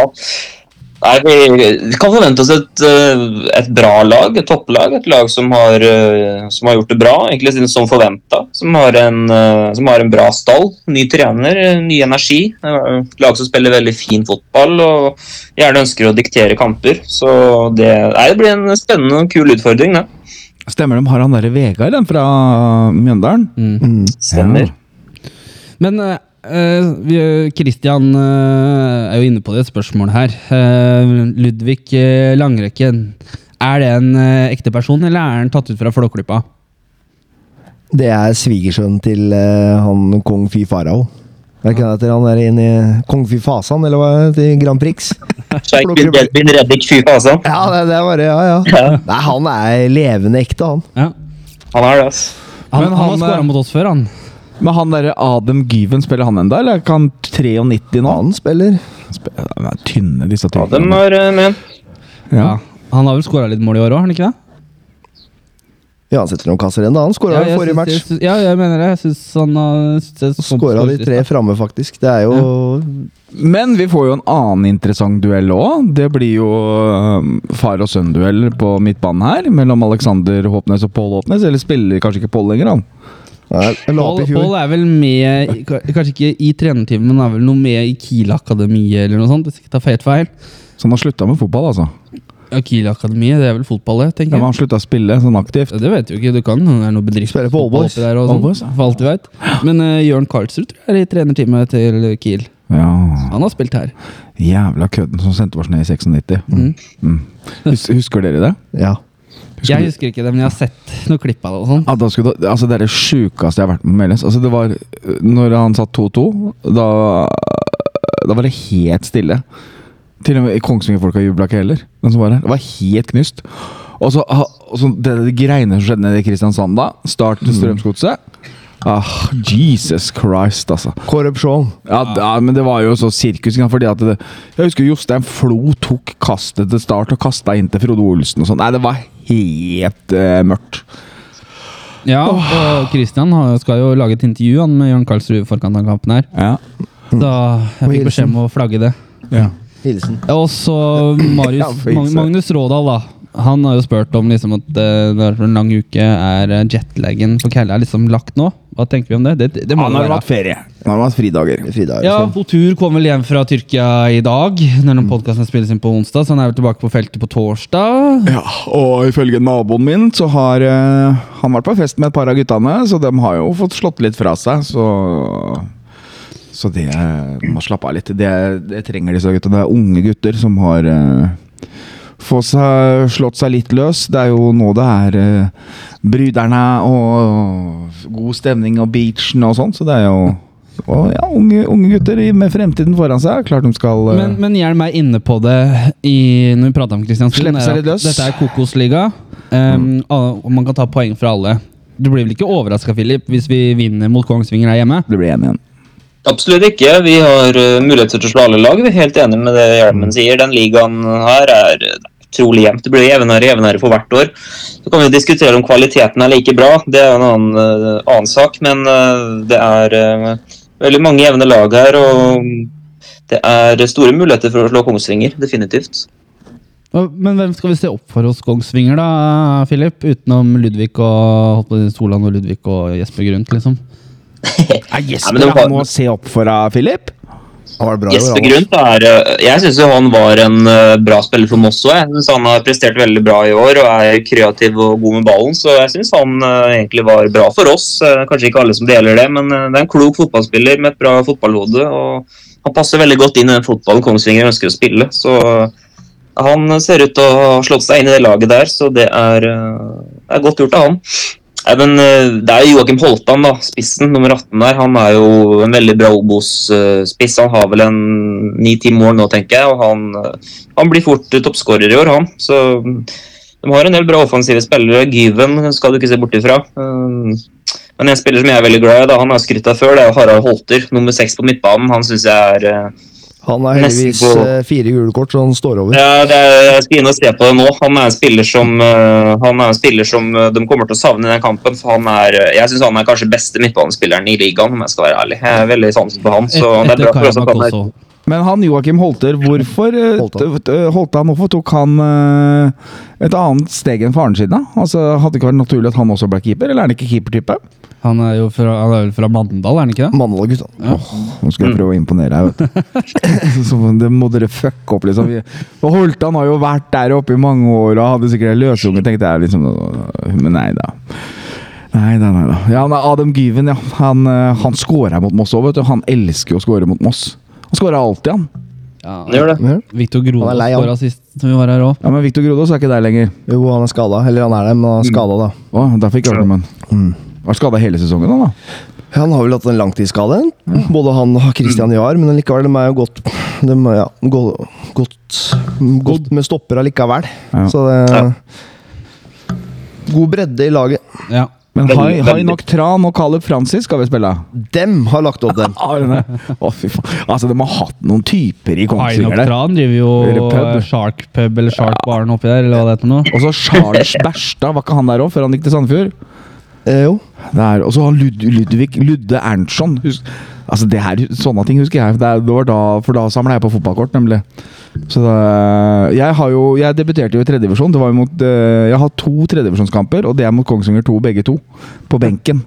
Nei, Vi kan forvente oss et, eh, et bra lag, et topplag. Et lag som har, eh, som har gjort det bra, egentlig siden som forventa. Som, har en, eh, som har en bra stall, ny trener, eh, ny energi. eh, Lag som spiller veldig fin fotball og gjerne ønsker å diktere kamper. Så det, nei, det blir en spennende og kul utfordring, det. Stemmer de har han derre Vegard, den fra Mjøndalen? Mm. Stemmer. Men eh, eh, vi- Christian eh, er jo inne på det spørsmålet her. Eh, Ludvig eh, Langrekken, er det en eh, ekte person, eller er han tatt ut fra Flåklypa? Det er svigersønnen til eh, han kong fy farao. Er ikke det etter han der inne i Kong fy fasan, eller hva er det, til Grand Prix? Sjeik bin Delbin Reddik Fyfa, altså. Ja, det, det er bare Ja, ja. Ja. Nei, han er levende ekte, han. Ja. Han er det, altså. Han, Men han, han, har eh, skåra mot oss før, han. Men han derre Adam Gyven, spiller han enda, eller er ikke han 93 nå? Han spiller. Sp- De er tynne, disse Ja, dem tynne. har eh, men Ja. Ja. Han har vel skåra litt mål i år òg, har han ikke det? Ja, han setter noen kasser ennå. Han skåra jeg jo forrige syns- match. jeg syns- ja, jeg mener det. Jeg syns han har syns jeg så- Skåra de tre framme, faktisk. Det er jo Men vi får jo en annen interessant duell òg. Det blir jo øhm, far og sønn-duell på midtbanen her. Mellom Alexander Håpnes og Pål Håpnes. Eller spiller kanskje ikke Pål lenger, han. Nei, Jeg la opp Pål i fjor. Pål er vel med i- k- Kanskje ikke i trenerteamet, men er vel noe med i Kiel-akademiet eller noe sånt? Hvis jeg ikke tar feit feil. Så han har slutta med fotball, altså. Ja, Kiel-akademiet, det er vel fotball, det, Ja, tenker men han jeg. slutta å spille sånn aktivt. Ja, Det vet jo ikke, du kan det er noe bedrift Spiller på All Boys. oppi der og All sånn, Boys, ja. for alt du vet. Men eh, Jørn Karlsrud tror jeg er i trenerteamet til Kiel. Ja, Han har spilt her. Jævla kødden som sendte oss ned i 96. Mm. Mm. Hus husker dere det? Ja. Husker Jeg du- husker ikke det, men jeg har sett noe klipp av det og sånn. Ja, da skulle du, altså det er det sjukeste jeg har vært med på Meløs. Altså det var øh, Når han satt 2-2, da, da var det helt stille. Til og med Kongsvinger-folka jubla ikke heller. Men så var det, det var helt knust. Og så, ha- og så det, det greiene som skjedde nede i Kristiansand da. Start til Strømsgodset. Ah, Jesus Christ, altså. Korrupsjon. Ja, d- ja, men det var jo så sirkus. ikke sant? Fordi at det, jeg husker Jostein Flo tok kastet til start og kasta inn til Frode Olsen og sånn. Nei, det var helt eh, mørkt. Ja, og Christian har- skal jo lage et intervju han, med Jørn Karlsrud i forkant av kampen her. Ja. Mm. Så jeg Og fikk beskjed om å flagge det. Hilsen. Ja, Og så [CLEARS THROAT] Ja, Marius, for Mag- ikke så- Magnus Rådal, da. Han har jo spurt om liksom at eh, det har vært en lang uke. Er eh, jetlaggen på Kælle er liksom lagt nå? Hva tenker vi om det? Det, det, det må Han det har være. hatt ferie. Han har hatt fridager. Frida Ja, Eriksson. Hotur kom vel hjem fra Tyrkia i dag, når den podkasten spilles inn på onsdag. Så han er vel tilbake på feltet på torsdag. Ja, og ifølge naboen min så har eh, han vært på fest med et par av guttene, så de har jo fått slått litt fra seg, så Så det eh, må slappe av litt. Det, det trenger disse guttene. Det er unge gutter som har eh, få seg, slått seg litt løs. Det er jo nå det er eh, bryderne og god stemning og beachen og sånn, så det er jo og ja, unge, unge gutter i- med fremtiden foran seg. Klart de skal eh, Men, men Hjelm er inne på det i, når vi prater om Kristiansund. Slippe seg er at litt løs. Dette er Kokosliga, um, alle- og man kan ta poeng fra alle. Du blir vel ikke overraska, Philip, hvis vi vinner mot Kongsvinger her hjemme? Det blir 1 igjen. Absolutt ikke. Vi har eh, muligheter til å slå alle lag. Vi er helt enige med det Hjelmen sier. Den ligaen her er eh, utrolig jevnt. Det blir jevnere og jevnere for hvert år. Så kan vi diskutere om kvaliteten er like bra. Det er en annen, eh, annen sak, men eh, det er eh, veldig mange jevne lag her. og det er store muligheter for å slå Kongsvinger, definitivt. Og- Men hvem skal vi se opp for hos Kongsvinger, da, Philip? Utenom Ludvig og holdt på å si Solan og Ludvig og Jesper Grundt, liksom. Er men Jesper det var- han må se opp for deg, Philip? Han var bra i år, Jesper han. Grundt er eh, Jeg syns han var en eh, bra spiller for Moss òg. Jeg syns han har prestert veldig bra i år og er kreativ og god med ballen. Så jeg syns han eh, egentlig var bra for oss. Eh, Kanskje ikke alle som deler det, men eh, det er en klok fotballspiller med et bra fotballhode. Og han passer veldig godt inn i den fotballen Kongsvinger ønsker å spille. Så eh, han ser ut til å ha slått seg inn i det laget der, så det er, eh, det er godt gjort av han. Nei, men eh, Det er jo Joakim Holtan, da, spissen nummer 18 der. Han er jo en veldig bra Obos-spiss. Han har vel en ni-ti mål nå, tenker jeg. Og han, eh, han blir fort eh, toppskårer i år, han. Så mm, de har en del bra offensive spillere. Gyven skal du ikke se bort ifra. Eh, Men en spiller som jeg er veldig glad i, da, han har skrytt av før, det er Harald Holter. Nummer seks på midtbanen. Han syns jeg er eh, Han har heldigvis Nesten på- eh, fire gule kort, så han står over. ja, det er, jeg skal inn og se på det nå. Han er en spiller som, eh, han er en spiller som eh, de kommer til å savne i den kampen. For han er, eh, jeg syns han er kanskje beste midtbanespilleren i ligaen, om jeg skal være ærlig. Jeg er veldig sansen på han. Et, Så det er etter bra for oss at Karamak han er også. Men han Joakim Holter, hvorfor eh, Holtan. t- t- Holtan, hvorfor tok han eh, et annet steg enn faren sin, da? Altså, Hadde det ikke vært naturlig at han også ble keeper, eller er han ikke keepertype? Han er jo fra, han er vel fra Mandal, er han ikke det? Mandal, gutta. Nå skal jeg prøve å imponere her, vet du. Så det må dere fucke opp, liksom. Vi- For Holtan har jo vært der oppe i mange år og hadde sikkert en løsunge, tenkte jeg. liksom. Men nei da. Nei da, nei da. Ja, han er Adam Gyven, ja. Han, eh, han scora mot Moss òg, vet du. Han elsker jo å score mot Moss. Han scora alltid, han. Han gjør det. Ja. Victor Grode Han er lei, han. skåra sist når vi var her òg. Ja, Men Victor Grodås er ikke der lenger. Jo, han er skada. Eller han er det, men han Mm. er skada, da. Å, derfor ikke Arnemann. Mm. Vært skada hele sesongen, han da. Han har vel hatt en langtidsskade. Både han og Mm. Christian Jahr, men likevel, de er jo godt De er ja, gå- godt, godt med stopper allikevel. Ja. Så det Ja. God bredde i laget. Ja. Men Veldig, Hai- veldig. Hainok Tran og Caleb Francis skal vi spille. Dem har lagt opp den. Arne. Å, fy faen. Altså, de har hatt noen typer i Hainok Kongsvinger der. Tran driver jo Eller pub. eh, Shark Pub eller Shark Baren oppi der, eller hva det heter for noe. Og så [LAUGHS] Charles Berstad, var ikke han der òg, før han gikk til Sandefjord? Eh, jo. Det er- Og så har Lud Ludvig Ludde Erntsson. Husk, altså det her, sånne ting husker jeg. Det, er- det var da, For da samla jeg på fotballkort, nemlig. Så det, jeg har jo Jeg debuterte jo i tredjedivisjon. Det var jo mot, eh, jeg har to tredjedivisjonskamper, og det er mot Kongsvinger 2, begge to. På benken.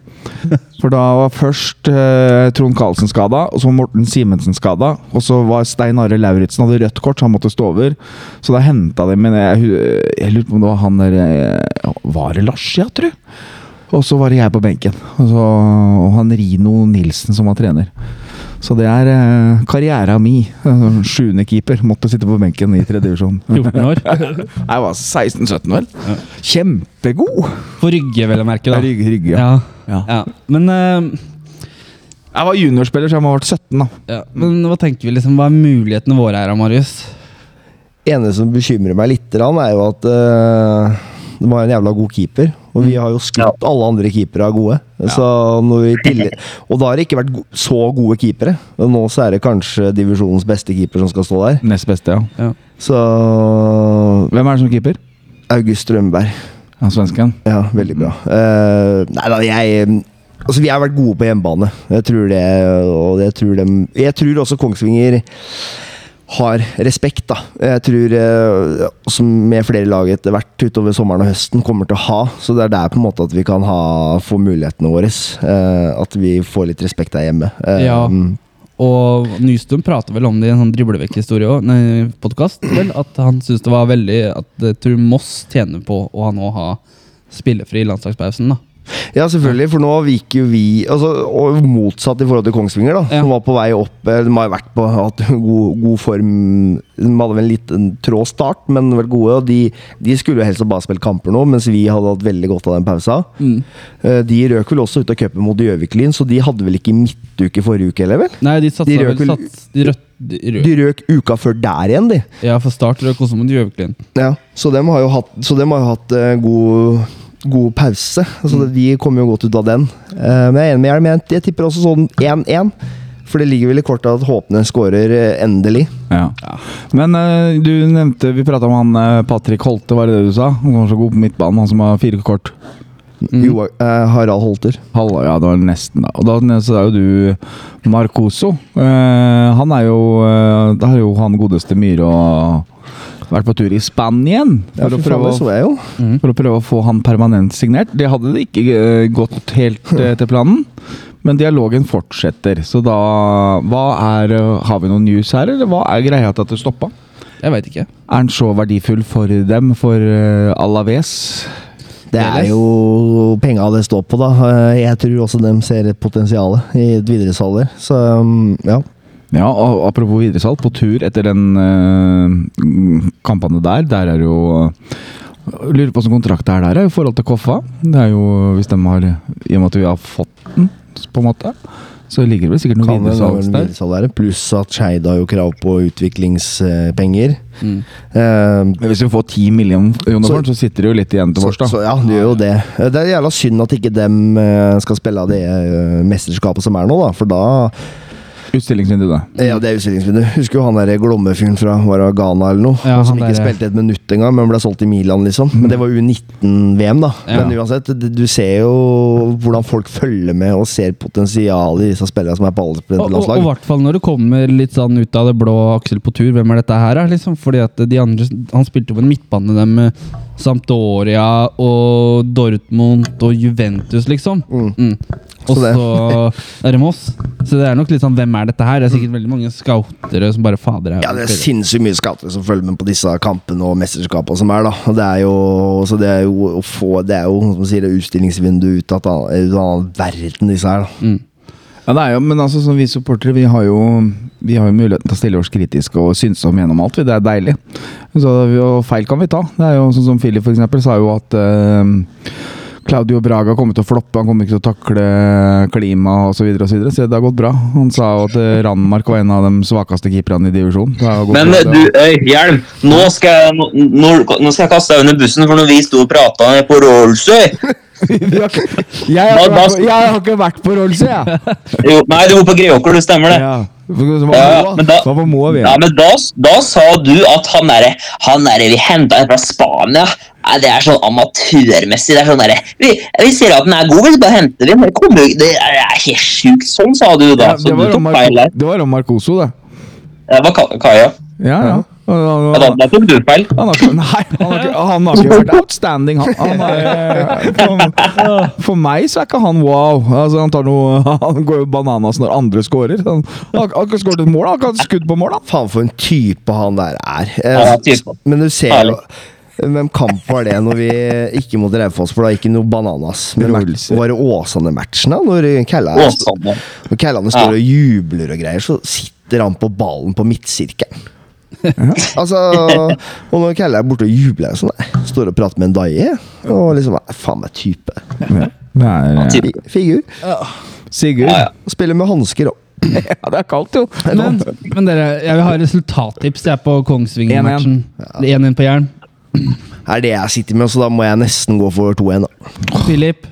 For da var først eh, Trond Karlsen skada, og så Morten Simensen skada. Og så var Stein Are Lauritzen hadde rødt kort, så han måtte stå over. Så da henta de Men jeg, hu- jeg lurer på om det var han der eh, Var det Lars, ja, tru? Og så var det jeg på benken. Og, så, og han Rino Nilsen som var trener. Så det er eh, karriera mi. Eh, Sjuende keeper. Måtte sitte på benken i tredje divisjon. 14 år. Jeg var 16-17, vel. Kjempegod! På Rygge, vel å merke. da. Rygge, rygge. Ja. Ja. Ja. Ja. Men, eh, Jeg var juniorspiller, så jeg må ha vært 17, da. ja. Men hva tenker vi liksom, hva er mulighetene våre her, da, Marius? eneste som bekymrer meg litt, er jo at eh, de har en jævla god keeper. Og vi har jo skutt alle andre keepere er gode. Så når vi i tillegg- og da har det ikke vært go så gode keepere. Og nå så er det kanskje divisjonens beste keeper som skal stå der. Nest beste, ja. Ja. Så Hvem er det som keeper? August Strømberg. Ja, svensken. Ja, veldig bra. Eh, nei da, jeg Altså, vi har vært gode på hjemmebane. Jeg tror det, og jeg tror dem Jeg tror også Kongsvinger har respekt, da. Jeg tror, eh, som med flere lag etter hvert utover sommeren og høsten, kommer til å ha. Så det er der på en måte at vi kan ha, få mulighetene våre. eh, at vi får litt respekt der hjemme. Eh, Ja. Og Nystuen prater vel om det i en sånn driblevekk-historie òg, podkast, vel, at han syns det var veldig At jeg tror Moss tjener på å ha nå ha spillefri i landslagspausen, da. Ja, selvfølgelig, for nå gikk jo vi altså, og Motsatt i forhold til Kongsvinger, da, Ja. som var på vei opp. eh, De har jo vært på hatt god, god form. De hadde vel en liten trå start, men vært gode. og De, de skulle jo helst bare spille kamper nå, mens vi hadde hatt veldig godt av den pausa. Eh, De røk vel også ut av cupen mot Gjøvik-Lyn, så de hadde vel ikke midtuke forrige uke heller, vel? Nei, de satsa De røk vel vel- sats, de rød, de rød. De røk uka før der igjen, de. Ja, for Start røk også mot Gjøviklin. Ja, så de har jo hatt, så dem har jo hatt eh, god, god pause. Så Mm. det- de kommer jo godt ut av den. Eh, men jeg er enig med Hjelm. Jeg, jeg tipper også sånn 1-1. For det ligger vel i kortet at Håpne skårer eh, endelig. Ja. Men eh, du nevnte Vi prata om han eh, Patrick Holte, var det det du sa? Han var så god på midtbanen, han som har fire kort. Mm. Jo, eh, Harald Holter. Hallo, ja, det var nesten, da. Og da nevnte- så er jo du Marcoso. Eh, han er jo eh, Da har jo han godeste Myhre og vært på tur i Spania igjen Ja, for, for å faen, prøve, det så å- jeg jo. for å prøve å få han permanent signert. Det hadde det ikke eh, gått helt [LAUGHS] eh, etter planen, men dialogen fortsetter. Så da hva er, eh, Har vi noen news her, eller hva er greia til at det stoppa? Jeg veit ikke. Er den så verdifull for dem, for eh, Alaves? Det er jo penga det står på, da. Eh, Jeg tror også de ser et potensial i et videresalg der. Så um, ja. Ja, og apropos videresalg, på tur etter den eh, kampene der, der er jo jeg Lurer på hvordan kontrakt det er der, er i forhold til Koffa. Det er jo, hvis de har, I og med at vi har fått den, på en måte, så ligger det vel sikkert noe Kan det være videresalg en der. videresalg der. Pluss at Skeid har jo krav på utviklingspenger. Mm. Eh, Men hvis vi får ti millioner Så- for den, så sitter det jo litt igjen til Så, vårs, da. så ja, det gjør jo det. Det er eh, jævla synd at ikke dem eh, skal spille av det eh, mesterskapet som er nå, da. For da Utstillingsvinduet. Ja, det er utstillingsvindu. Husker jo han der Glomme-fyren fra var det Ghana eller noe? Ja, han som han ikke der- spilte et minutt engang, men ble solgt i Milan, liksom. Men det var U19-VM, da. Ja. Men uansett, det- du ser jo hvordan folk følger med og ser potensialet i disse spillerne som er på Og, og, og i alderslandslag. hvert fall når du kommer litt sånn ut av det blå Aksel på tur, hvem er dette her? da, Liksom? Fordi at de andre, Han spilte jo på en midtbane der med Sampdoria og Dortmund og Juventus, liksom. Mm. Og Så det- så er det Moss. Så det er nok litt sånn Hvem er dette her? Det er sikkert veldig mange scoutere som bare fader er Ja, det er sinnssykt mye skatter som følger med på disse kampene og mesterskapene som er, da. Og det er jo, så det er jo å få Det er jo, som du sier, det utstillingsvindu ut av et annet- ut av en annen verden, disse her, da. Ja, det er jo, men altså, som vi supportere, vi har jo, vi har jo muligheten til å stille oss kritiske og synse om gjennom alt. vi. Det er deilig. Så, og feil kan vi ta. Det er jo sånn som Philip for eksempel, sa jo at eh, Claudio Braga kommer til å floppe, han kommer ikke til å takle klima osv. Så, videre, og så, videre. så det har gått bra. Han sa jo at eh, Randmark var en av de svakeste keeperne i divisjonen. Det har gått Men bra, eh, det. du, øy, Hjelm, nå skal, jeg, nå, nå- nå skal jeg kaste deg under bussen, for når vi sto og prata på Rollsøy [LAUGHS] Vi har ikke- jeg, har ikke vært på, jeg har ikke vært på Rolls, jeg. jo, Nei, du var på Greåker, du stemmer det. Ja. Så hva Ja, må- men da- hva må vi? Ja, men da, da sa du at han derre Han derre vi henta en fra Spania Nei, Det er sånn amatørmessig. Det er sånn derre vi, vi ser at den er god, men så bare henter vi den. Det, kommer, jo- det er er helt sjukt. Sånn sa du da. Ja, så det, du var om tok feil Marco, der. det var om Marcoso, det. Det var Ka- Kaja. Ja, ja. Han, Ja, da, da tok du feil. han har ikke, nei, han har ikke, han har ikke vært outstanding, han. han er, for, for meg så er ikke han wow. Altså, han, tar noe, han går jo bananas når andre scorer. Han, han har ikke skåret et mål, han har ikke hatt skudd på mål. Han. Faen for en type han der er. Eh, Ja, type. Men du ser Herlig. jo Hvem kamp var det når vi ikke mot Raufoss, for da gikk det noe bananas? Men match, Rolse. var det Åsane-matchen, da? Når Kalla- Åsane. når Kallane står og jubler og greier, så sitter han på ballen på midtsirkelen. altså, og når Kalla er borte og jubler, sånn, nei, står og prater med en daie og liksom nei, Faen meg type. Det er, Type. Fi- Figur. Sigurd. Ja, ja. Og spiller med hansker òg. Ja, det er kaldt, jo. Men, men dere, jeg vil ha resultattips jeg er på Kongsvinger-matchen. 1-1 på Jern. Det er det jeg sitter med, så da må jeg nesten gå for 2-1. da. Philip,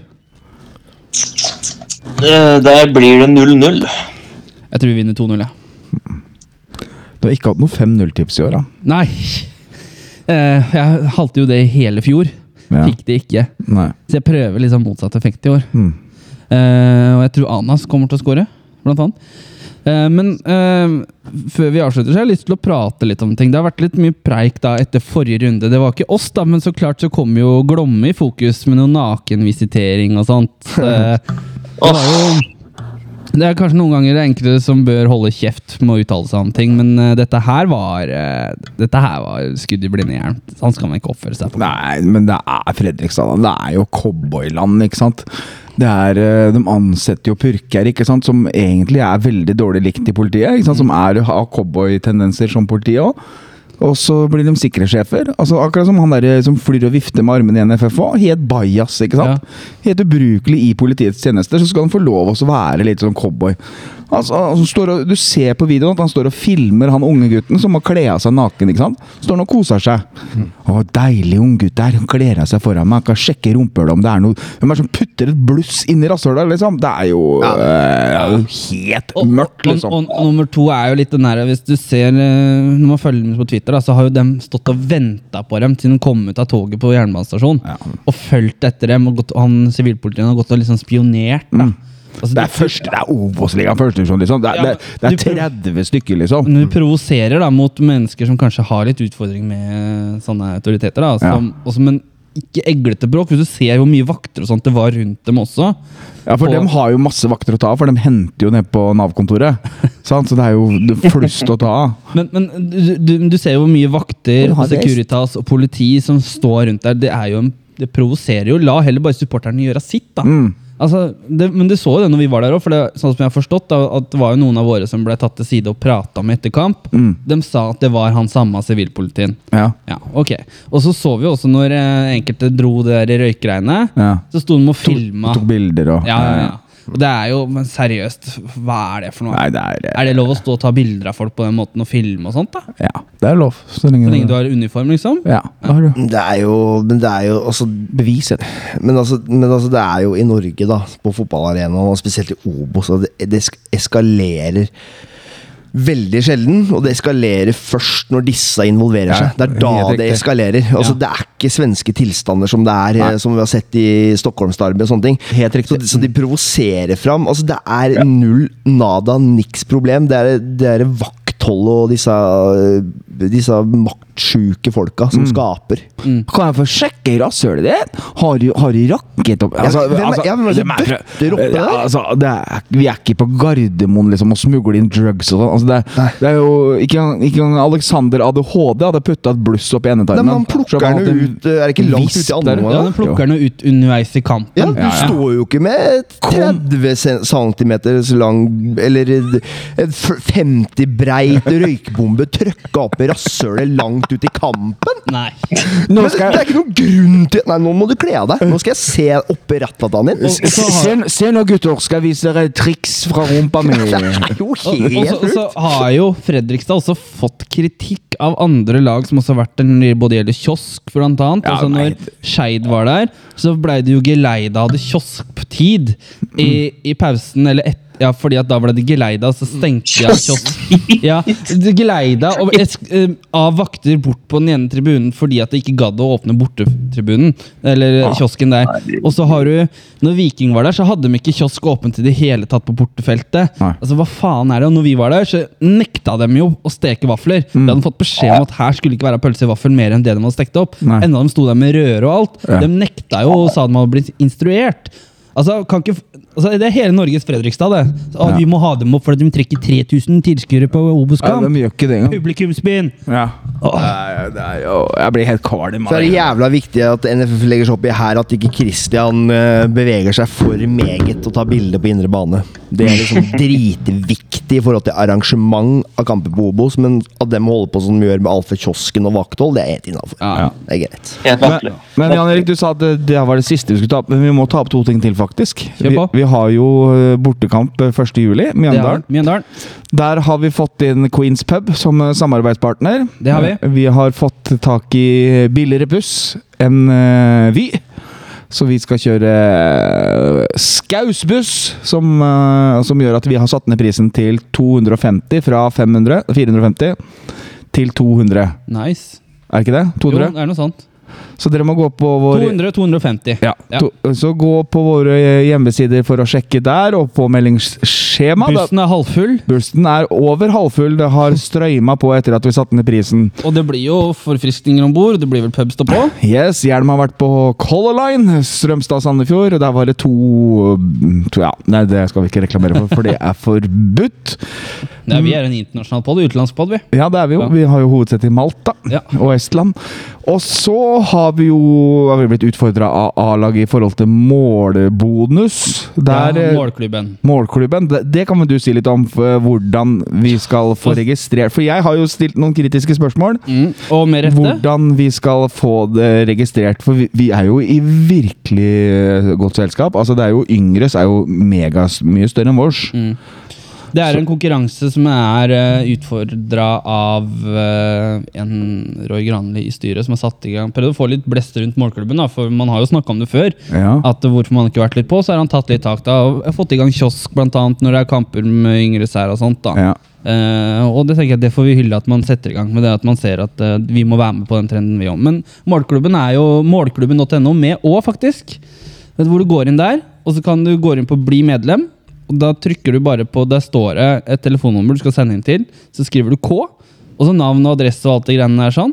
Eh, Der blir det 0-0. jeg tror vi vinner 2-0, jeg. Du har ikke hatt noe 5-0-tips i år, da. Nei! Eh, jeg halte jo det i hele fjor. Ja. Fikk det ikke. Nei. Så jeg prøver liksom motsatt effekt i år. Mm. Eh, og jeg tror Anas kommer til å score, blant annet. Eh, men eh, før vi avslutter, så har jeg lyst til å prate litt om ting. Det har vært litt mye preik da etter forrige runde. Det var ikke oss, da, men så klart så kom jo Glomme i fokus med noe nakenvisitering og sånt. Eh, det var jo det er kanskje noen ganger det er enkelte som bør holde kjeft med å uttale seg om ting, men eh, dette her var eh, Dette her var skudd i blinde jern. Sånn skal man ikke oppføre seg på. Nei, men det er Fredrikstad. da. Det er jo cowboyland, ikke sant. Det er, eh, de ansetter jo purker ikke sant? som egentlig er veldig dårlig likt i politiet. Ikke sant? Som er, har cowboytendenser som politiet òg. Og så blir de sikre sjefer. Altså, akkurat som han der som flyr og vifter med armene i NFF òg. Helt bajas, ikke sant. Helt ubrukelig i politiets tjenester, så skal han få lov også å være litt sånn cowboy. Altså, han står og, du ser på videoen at han står og filmer han unge gutten som må kle av seg naken. ikke sant? Står han og koser seg. Mm. Å, deilig ung gutt der. Han kler av seg foran meg. Han kan sjekke rumpehullet om det er noe Hvem er det som putter et bluss inni rasshølet, liksom? Det er jo, eh, det er jo helt Og- mørkt, og- liksom. Og, og nummer to er jo litt den der Hvis du ser eh, Når man følger med på Twitter, da, så har jo dem stått og venta på dem siden de kom ut av toget på jernbanestasjonen. Ja. Og fulgt etter dem. Og gått, han sivilpolitiet har gått og liksom spionert. Da. Mm. Altså, Det er, du- første- det er Obos-ligaen, førstedivisjon, liksom. Det Ja, er, det, det er 30 stykker, liksom. Men du provoserer da mot mennesker som kanskje har litt utfordring med eh, sånne autoriteter. da som, også, Men ikke eglete bråk. Hvis du ser hvor mye vakter og sånt det var rundt dem også. Ja, for Og- dem har jo masse vakter å ta av, for dem henter jo ned på [LAUGHS] Nav-kontoret. sant? Så det er jo det er flust å ta av. Men, men du, du, du ser jo hvor mye vakter Og og har det- Securitas og politi som står rundt der. Det, er jo en, det provoserer jo. La heller bare supporterne gjøre sitt, da. Mm. Altså, det, men du så jo det når vi var der òg, for det, sånn som jeg har forstått, da, at det var jo noen av våre som ble tatt til side og prata med etter kamp. Mm. De sa at det var han samme sivilpolitien. Ja. Ja, ok. Og så så vi jo også når eh, enkelte dro det der i røykgreiene, Ja. så sto de og filma. Tok bilder og Ja, ja, ja. Og Det er jo, men seriøst, hva er det for noe? Nei, det er, eh, Er det lov å stå og ta bilder av folk på den måten og filme og sånt? da? Ja, det er lov. Så lenge, Så lenge du har uniform, liksom? Ja, da har du Det er jo Men det er jo altså, beviset. men, altså, men altså, det er jo i Norge, da, på fotballarenaen, og spesielt i Obos, at det, det esk- eskalerer veldig sjelden. Og det eskalerer først når disse involverer Ja, seg. Det er da helt det riktig. eskalerer. Altså, Det er ikke svenske tilstander som det er eh, som vi har sett i Stockholmsdarby og sånne ting. Helt riktig. Så, de- så de provoserer fram. Altså, det er null nada, niks problem. Det er det er vaktholdet og disse, eh, disse maktsjuke folka som skaper. Mm. Kan jeg få sjekke rasshølet ditt? Har du, har du rakket opp hvem er- altså, ja, hvem er det som dem fra- bøtter opp det der? Ja, altså, det er, Vi er ikke på Gardermoen liksom, og smugler inn drugs og sånn. Altså, det, er- det er jo ikke, engang- ikke engang Alexander ADHD hadde putta et bluss opp i endetarmen. Nei, men han plukker Så han den hadde en ut, eh, er det ikke langt visp ut i der. andre omgang, Ja, den plukker den jo ut underveis i kampen. Ja, du ja. står jo ikke med 30 cm lang Eller en f- 50 breit røykbombe trøkka opp i rasshølet langt ut i kampen! [LAUGHS] Nei. Nå Men det, skal det er jeg ikke noen grunn til Nei, nå må du kle av deg! Nå skal jeg se oppi rattlataen din! Og- og så har- se, se nå, gutter, skal jeg vise dere triks fra rumpa [LAUGHS] mi. Det er Og, jo og, så, helt og så har jo Fredrikstad også fått kritikk av andre lag som også har vært der når det både gjelder kiosk, blant annet. Ja, altså nei. når Skeid var der, så blei det jo Geleida hadde kioskptid i, i pausen, eller et, ja, fordi at da ble det Geleida, så stengte de Mm. av kiosk. Ja, det Geleida og et, eh, av vakter bort på den ene tribunen fordi at de ikke gadd å åpne bortetribunen, eller Ah, kiosken der. Og så har du, når Viking var der, så hadde de ikke kiosk åpent i det hele tatt på bortefeltet. Nei. Altså, hva faen er det? Og når vi var der, så nekta de jo å steke vafler. Mm. De hadde fått beskjed om at her skulle ikke være pølse i vaffel mer enn det de hadde stekt opp. Nei. Enda de sto der med røre og alt. Ja. De nekta jo og sa de hadde blitt instruert. Altså, kan ikke, f- altså, det er hele Norges Fredrikstad, det. Så, «Å, Ja. Vi må ha dem opp fordi de trekker 3000 tilskuere på Ja, Obos-kamp. de gjør ikke det engang. Publikumsbyen! Ja. Åh. Nei, det er jo- Jeg blir helt kvalm Så er det jævla viktig at NFF legger seg opp i her at ikke Christian eh, beveger seg for meget og tar bilde på indre bane. Det er [LAUGHS] liksom dritviktig i forhold til arrangement av kamper på Obos, men at de holder på som de gjør med alt fra kiosken og vakthold, det er helt innafor. Ja. Det er greit. Helt Men, merkelig. men Jan Erik, du sa at det, det var det siste vi skulle ta opp. Men vi må ta opp to ting til, faktisk. Kjør Vi, på. vi har jo eh, bortekamp eh, 1. juli, Det har Mjøndalen. Mjøndalen. Der har vi fått inn Queens Pub som eh, samarbeidspartner. Det har Eh, vi. Vi har fått tak i billigere buss enn eh, Vy. Så vi skal kjøre eh, Skausbuss, som, eh, som gjør at vi har satt ned prisen til 250 fra 500, 450 til 200. Nice. Er ikke det? Jo, 200? det er noe sånt. Så dere må gå på vår 200-250. ja. To, så gå på våre hjemmesider for å sjekke der, og påmeldingsskjema. da- Bussen er halvfull. Bussen er over halvfull. Det har strøyma på etter at vi satte ned prisen. Og det blir jo forfriskninger om bord. Det blir vel pubstopp òg? Yes, Hjelm har vært på Color Line, Strømstad-Sandefjord. og Der var det to, to Ja, nei, det skal vi ikke reklamere for, for det er forbudt. Nei, vi er en internasjonal pod, utenlandspod, vi. Ja, det er vi jo. Ja. Vi har jo hovedsete i Malta Ja. og Estland. Og så har vi jo har vi blitt utfordra av A-laget i forhold til målbonus. Der ja, eh, målklubben. Målklubben, det, det kan vel du si litt om for hvordan vi skal få registrert For jeg har jo stilt noen kritiske spørsmål. Mm. Og med rette. Hvordan vi skal få det registrert. For vi, vi er jo i virkelig eh, godt selskap. Altså det er jo Yngres er jo mega s- mye større enn vårs. Mm. Det er en konkurranse som er uh, utfordra av eh, en Roy Granli i styret som har satt i gang Prøvd å få litt blest rundt målklubben, da, for man har jo snakka om det før. Ja. At hvorfor man ikke har vært litt på, så har han tatt litt tak da, og fått i gang kiosk blant annet når det er kamper med yngre sær og sånt. da. Ja. Eh, og det tenker jeg det får vi hylle at man setter i gang med det, at man ser at eh, vi må være med på den trenden vi om. Men målklubben er jo målklubben.no med òg, faktisk. Vet du Hvor du går inn der, og så kan du gå inn på bli medlem. Og da trykker du bare på Der står det et telefonnummer du skal sende inn til. Så skriver du K, og så navn og adresse og alt det greiene der sånn.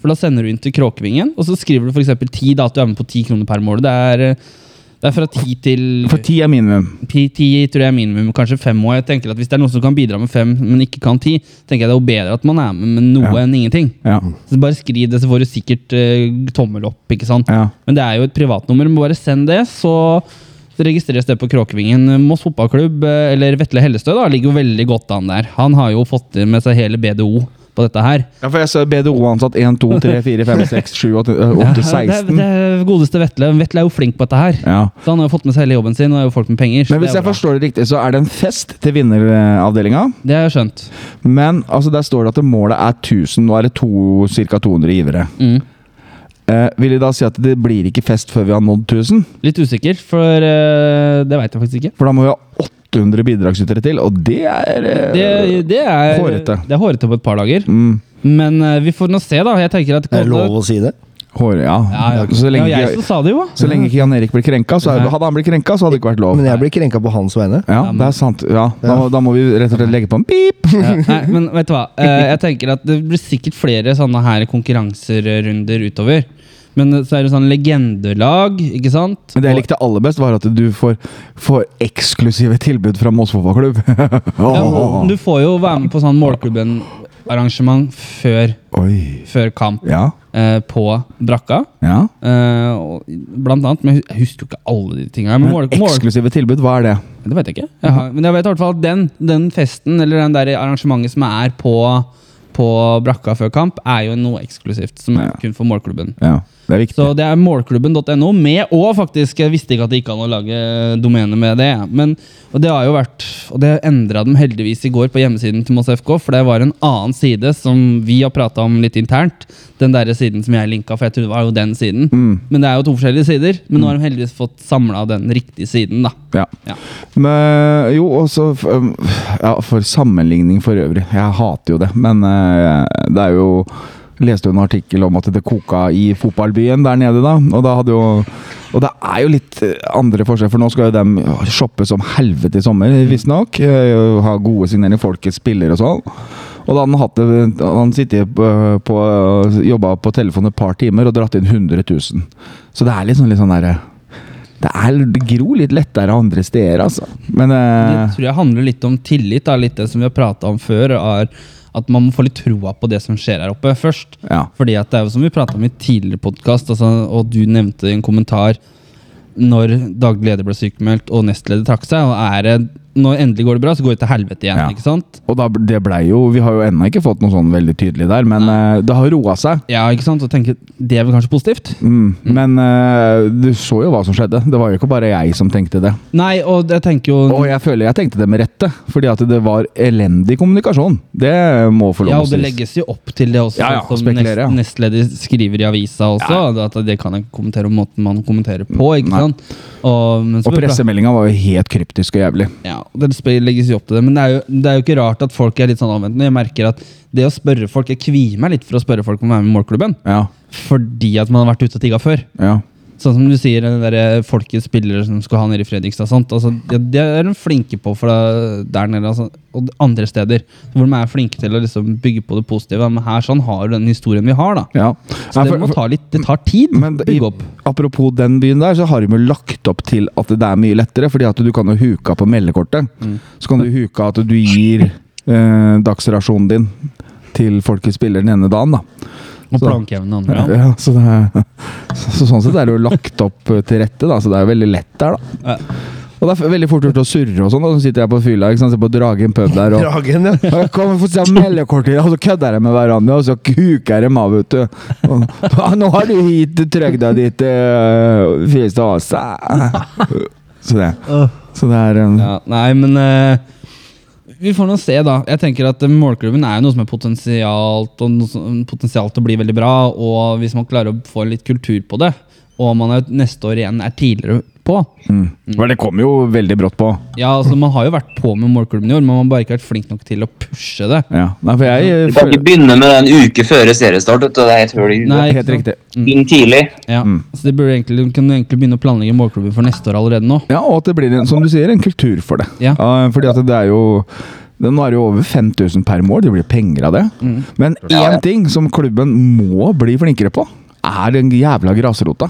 For da sender du inn til Kråkevingen, og så skriver du f.eks. 10, da at du er med på 10 kroner per mål. Det er, eh, det er fra 10 til For ti er minimum. Ti ti tror jeg er minimum, kanskje fem år. Jeg tenker at Hvis det er noen som kan bidra med fem, men ikke kan ti, tenker jeg det er jo bedre at man er med med noe Ja. enn ingenting. Ja. Så bare skriv det, så får du sikkert eh, tommel opp. ikke sant? Ja. Men det er jo et privatnummer. Men bare send det, så registreres det på Kråkevingen. Moss fotballklubb, eh, eller Vetle Hellestø, da, ligger jo veldig godt an der. Han har jo fått med seg hele BDO på på dette her. Ja, for jeg ser BDO-ansatt 1, 2, 3, 4, 5, 6, 7, 8, Ja, Det, er, 16. det er godeste Vetle. Vetle er jo flink på dette her. Ja. Så han har jo fått med seg hele jobben sin, og er jo folk med penger. så Men hvis det, er jeg bra. forstår det riktig, så er det en fest til vinneravdelinga. det har jeg skjønt. Men altså, der står det at målet er 1000. Nå er det to, ca. 200 givere. Mm. Eh, vil de da si at det blir ikke fest før vi har nådd 1000? Litt usikker, for eh, det veit jeg faktisk ikke. For da må vi ha 800 bidragsytere til, og det er eh, Det, det er Hårete. Det er hårete på et par dager. mm, Men eh, vi får nå se, da. Jeg tenker at Er det lov å si det? hår, ja. Ja, ja. Så lenge det var jeg Mm. ikke, som sa det, jo. så lenge ikke Jan Erik blir krenka, så er, hadde han blitt krenka, så hadde det ikke vært lov. Men jeg blir krenka på hans vegne. Ja, det er sant. Ja, da, må- da må vi rett og slett legge på en pip. Ja, nei, men vet du hva? Eh, jeg tenker at Det blir sikkert flere sånne her konkurranserunder utover. Men eh, så er det sånn legendelag, ikke sant? Men det jeg Og- likte aller best, var at du får, får eksklusive tilbud fra Moss fotballklubb. [LAUGHS] ja, Åh. men Du får jo være med på sånn målklubben-arrangement før, Oi. før kamp Ja. eh, på brakka. ja. Eh, og blant annet, men jeg husker jo ikke alle de tinga. Men mål, mål, Eksklusive tilbud, hva er det? det vet jeg ikke. Jeg har, men jeg vet i hvert fall at den, den festen eller den der arrangementet som er på, på brakka før kamp, er jo noe eksklusivt. Som Ja. er kun for målklubben. Ja, det er viktig. Så det er målklubben.no med og faktisk Jeg visste ikke at det gikk an å lage domene med det. Men, og det har jo vært Og det endra dem heldigvis i går på hjemmesiden til Moss FK, for det var en annen side som vi har prata om litt internt. Den derre siden som jeg linka, for jeg trodde det var jo den siden. Mm. Men det er jo to forskjellige sider. Men nå har de heldigvis fått samla den riktige siden, da. Ja. Ja. Men, jo, også f- um, ja, For sammenligning for øvrig. Jeg hater jo det, men eh, det er jo Leste jo en artikkel om at det koka i fotballbyen der nede, da. Og, da hadde jo, og det er jo litt eh, andre forskjeller, for nå skal jo dem shoppe som helvete i sommer, visstnok. eh, Ha gode signeringer, folkets spillere og sånn. Og da hadde han, hatt det, han sittet på, på jobba på telefonen et par timer og dratt inn 100 000. Så det er liksom litt sånn derre det er det gror litt lettere andre steder, altså. Men Det eh, tror jeg handler litt om tillit, da. litt det som vi har prata om før. Er at man må få litt troa på det som skjer her oppe, først. ja. Fordi at det er jo som vi pratet om i tidligere podcast, altså, og du nevnte i en kommentar når daglig leder ble sykemeldt og nestleder trakk seg, og er det, når endelig går det bra, så går det til helvete igjen, Ja. ikke sant? Og da, det blei jo Vi har jo ennå ikke fått noe sånn veldig tydelig der, men eh, det har roa seg. Ja, ikke sant? Og tenker, det er vel kanskje positivt? Mm. Men eh, du så jo hva som skjedde. Det var jo ikke bare jeg som tenkte det. Nei, og jeg tenker jo... Og jeg føler jeg tenkte det med rette, fordi at det var elendig kommunikasjon. Det må få ja, lov og å det sies. legges jo opp til det også, Ja, ja, som spekulerer, ja. nest, nestleder skriver i avisa også, at det kan jeg ikke kommentere om måten man kommenterer på, ikke Nei. sant? Og, men så Og blir det bra. pressemeldinga var jo helt kryptisk og jævlig. Ja, det sp- legges jo opp til det, men det er, jo, det er jo ikke rart at folk er litt sånn avventende. Jeg merker at det å spørre folk, jeg kvier meg litt for å spørre folk om å være med i målklubben, Ja, fordi at man har vært ute og tigga før. ja. Sånn som du sier, den der folkets spillere som skal ha nede i Fredrikstad. og sånt. Altså, det, det er de flinke på for det, der nede altså, og andre steder. Hvor de er flinke til å liksom bygge på det positive. Men her sånn har du den historien vi har, da. ja. Så Nei, det, for- må ta litt, det tar tid Men å i, bygge opp. apropos den byen der, så har de jo lagt opp til at det er mye lettere, fordi at du kan jo huka på meldekortet. Så kan du huka at du gir eh, dagsrasjonen din til folkets spiller den ene dagen, da. Og så- plankevnen og andre. Ja, så, det er, [LAUGHS] så, så sånn sett er det jo lagt opp eh, til rette, da, så det er jo veldig lett der, da. Ja. Og det er f- veldig fort gjort å surre og sånn, og så sitter jeg på fylla ikke sant, ser på Dragen pub der og Dragen, ja. og jeg kommer for å se om meldekortet, og så kødder de med hverandre, og så kuker de av, vet du. Og, «Ja, nå har du hit trøgda ditt øh, fyrste ase. Så det. Så det er um, Ja, nei, men eh, vi får nå se, da. Jeg tenker at eh, Målklubben er jo noe som er potensialt, og noe som potensialt til å bli veldig bra. Og hvis man klarer å få litt kultur på det, og man er, neste år igjen er tidligere på mm. Men det kommer jo veldig brått på. Ja, altså Man har jo vært på med Målklubben i år, men man har bare ikke vært flink nok til å pushe det. Ja. Nei, for jeg øh, Du kan ikke føler begynne med den uke før seriestart. vet du, Det er et hull i huet. Nei, ikke Helt sant? riktig. Inn tidlig. Ja, Mm. så de burde egentlig, de kunne egentlig begynne å planlegge Målklubben for neste år allerede nå. Ja, og at det blir, en- som du sier, en kultur for det. Ja. fordi at det er jo det, Nå er det jo over 5000 per mål, det blir penger av det. Mm. Men én ting som klubben må bli flinkere på, er den jævla grasrota.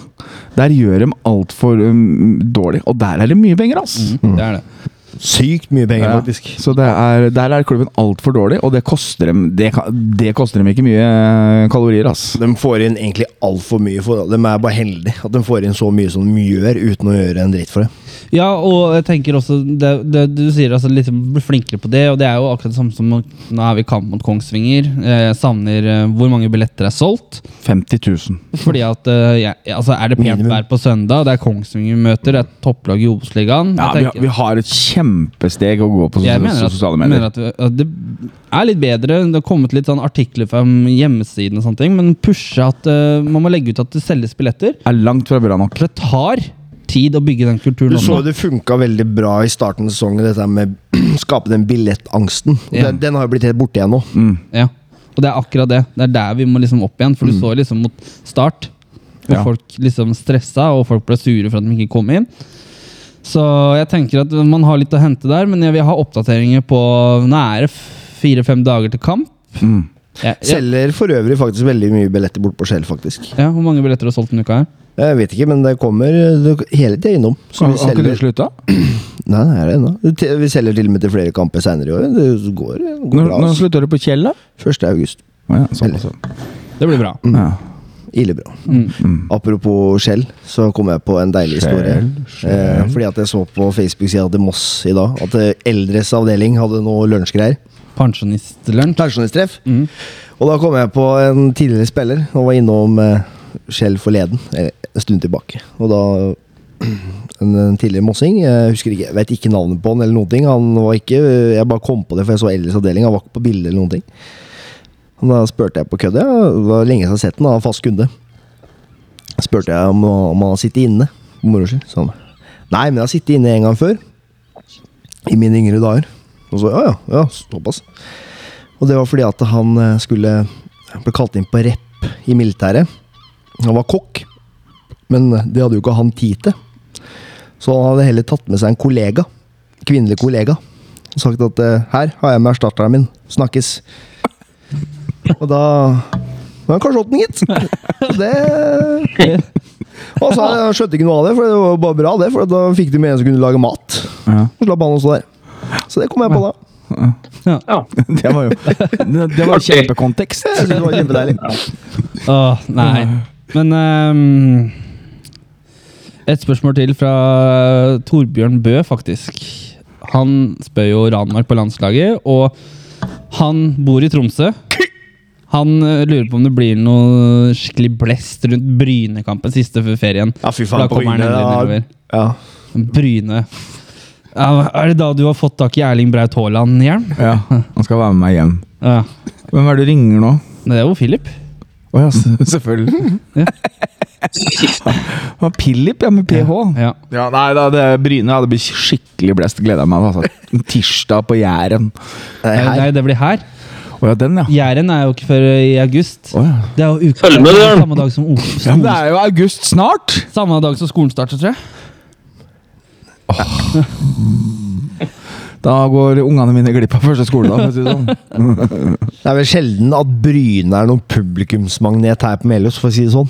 Der gjør de altfor um, dårlig, og der er det mye penger, ass! Det er det. Sykt mye penger, Ja. faktisk. Så det er, der er klubben altfor dårlig, og det koster, dem, det, kan- det koster dem ikke mye eh, kalorier, ass. De får inn egentlig altfor mye. For, de er bare heldige at de får inn så mye som de gjør, uten å gjøre en dritt for det. Ja, og jeg tenker også det, det, Du sier altså litt bli flinkere på det, og det er jo akkurat det samme som Nå er vi i kamp mot Kongsvinger. Eh, Jeg savner eh, hvor mange billetter er solgt. 50 000. Fordi at eh, jeg, altså Er det pent Minimum. vær på søndag, det er Kongsvinger vi møter, det er topplag i Obos-ligaen Ja, vi, Jeg har- tenker- vi har et kjempesteg å gå på jeg sos- mener at, sosiale medier. mener at, vi- at det er litt bedre. Det har kommet litt sånn artikler fra hjemmesiden, og sånne ting men pushe at eh, man må legge ut at det selges billetter. er langt fra bra nok. For det tar tid å bygge den kulturen. Du opp. så jo det funka veldig bra i starten av sesongen, dette her med [CLEARS THROAT] å skape den billettangsten. Og Ja. Den, den har jo blitt helt borte igjen nå. Mm. Ja, og det er akkurat det. Det er der vi må liksom opp igjen. For du så liksom mot start, og Mm. Ja. folk liksom stressa, og folk ble sure for at de ikke kom inn. Så jeg tenker at man har litt å hente der, men jeg vil ha oppdateringer på Nå er det fire-fem dager til kamp. Mm. Ja, ja, Selger for øvrig faktisk veldig mye billetter bort på Shell, faktisk. ja, Hvor mange billetter har du solgt denne uka? her? Jeg vet ikke, men det kommer det- hele tida innom. Så Har, vi har ikke det selger, slutta? nei, nei, det er ennå. Til- vi selger til og med til flere kamper seinere i år. Det går, går Når, bra. når altså. slutta du på Kjell, da? 1. august. Ja, såpass, ja. Det blir bra. Ja. Ille bra. Mm. Apropos Shell, så kom jeg på en deilig historie. Eh, fordi at jeg så på Facebook-sida til Moss i dag at eh, Eldres avdeling hadde noe lunsjgreier. Pensjonistlunsj. Pensjonisttreff. Mm. Og da kom jeg på en tidligere spiller og var innom eh, Skjell forleden, eller en stund tilbake. Og da [CLEARS THROAT] en, en tidligere mossing, jeg husker ikke, jeg vet ikke navnet på han eller noen ting. Han var ikke, jeg bare kom på det, for jeg så Ellis avdeling, han var ikke på bildet eller noen ting. Og da spurte jeg på kødd, ja, det var lenge siden jeg har sett den, han var fast kunde. Spurte jeg om, om han har sittet inne, moro skyld, sa han. Nei, men jeg har sittet inne en gang før. I mine yngre dager. Og så, ja, ja, ja, såpass. Og det var fordi at han eh, skulle han ble kalt inn på rep i militæret. Han var kokk, men det hadde jo ikke han tid til. Så han hadde heller tatt med seg en kollega, kvinnelig kollega, og sagt at eh, her har jeg med erstatteren min, snakkes. Og da var han kanskje åt den, gitt. Det Og så han skjønte ikke noe av det, for det var bare bra, det. For da fikk de med en som kunne lage mat. Ja. Så slapp han å stå der. Så det kom jeg på da. Ja. Det [LAUGHS] var jo Det var Artig. kjempekontekst. Jeg synes det var kjempedeilig. Åh, nei. Men ehm, Et spørsmål til fra Torbjørn Bø, faktisk. Han spør jo Ranmark på landslaget, og han bor i Tromsø. Han eh, lurer på om det blir noe skikkelig blest rundt Brynekampen siste før ferien. Ja, fy Da kommer han endelig nedover. Ja. Bryne. Ja, Er det da du har fått tak i Erling Braut Haaland-hjelm? Ja, Han skal være med meg hjem. Ja. Hvem er det du ringer nå? Det er jo Philip. Å ja, [LAUGHS] s- selvfølgelig. [LAUGHS] Ja. Det var Pilip, ja, med ph. Ja. Ja, nei, da, det er Bryne ja, det blir skikkelig blest. Gleder jeg meg. Altså. Tirsdag på Jæren. Nei, Eh, her. Nei, det blir her. Å ja, den, ja. Jæren er jo ikke før i august. Å, ja. Det er jo uka, Følg med, det er jo Bjørn. samme dag som ja ok- men skolen, det er jo august snart! Samme dag som skolen starter, tror jeg. Da går ungene mine glipp av første skoledag. for å si det Sånn. Det er vel sjelden at Bryne er noen publikumsmagnet her på Melhus, for å si det sånn.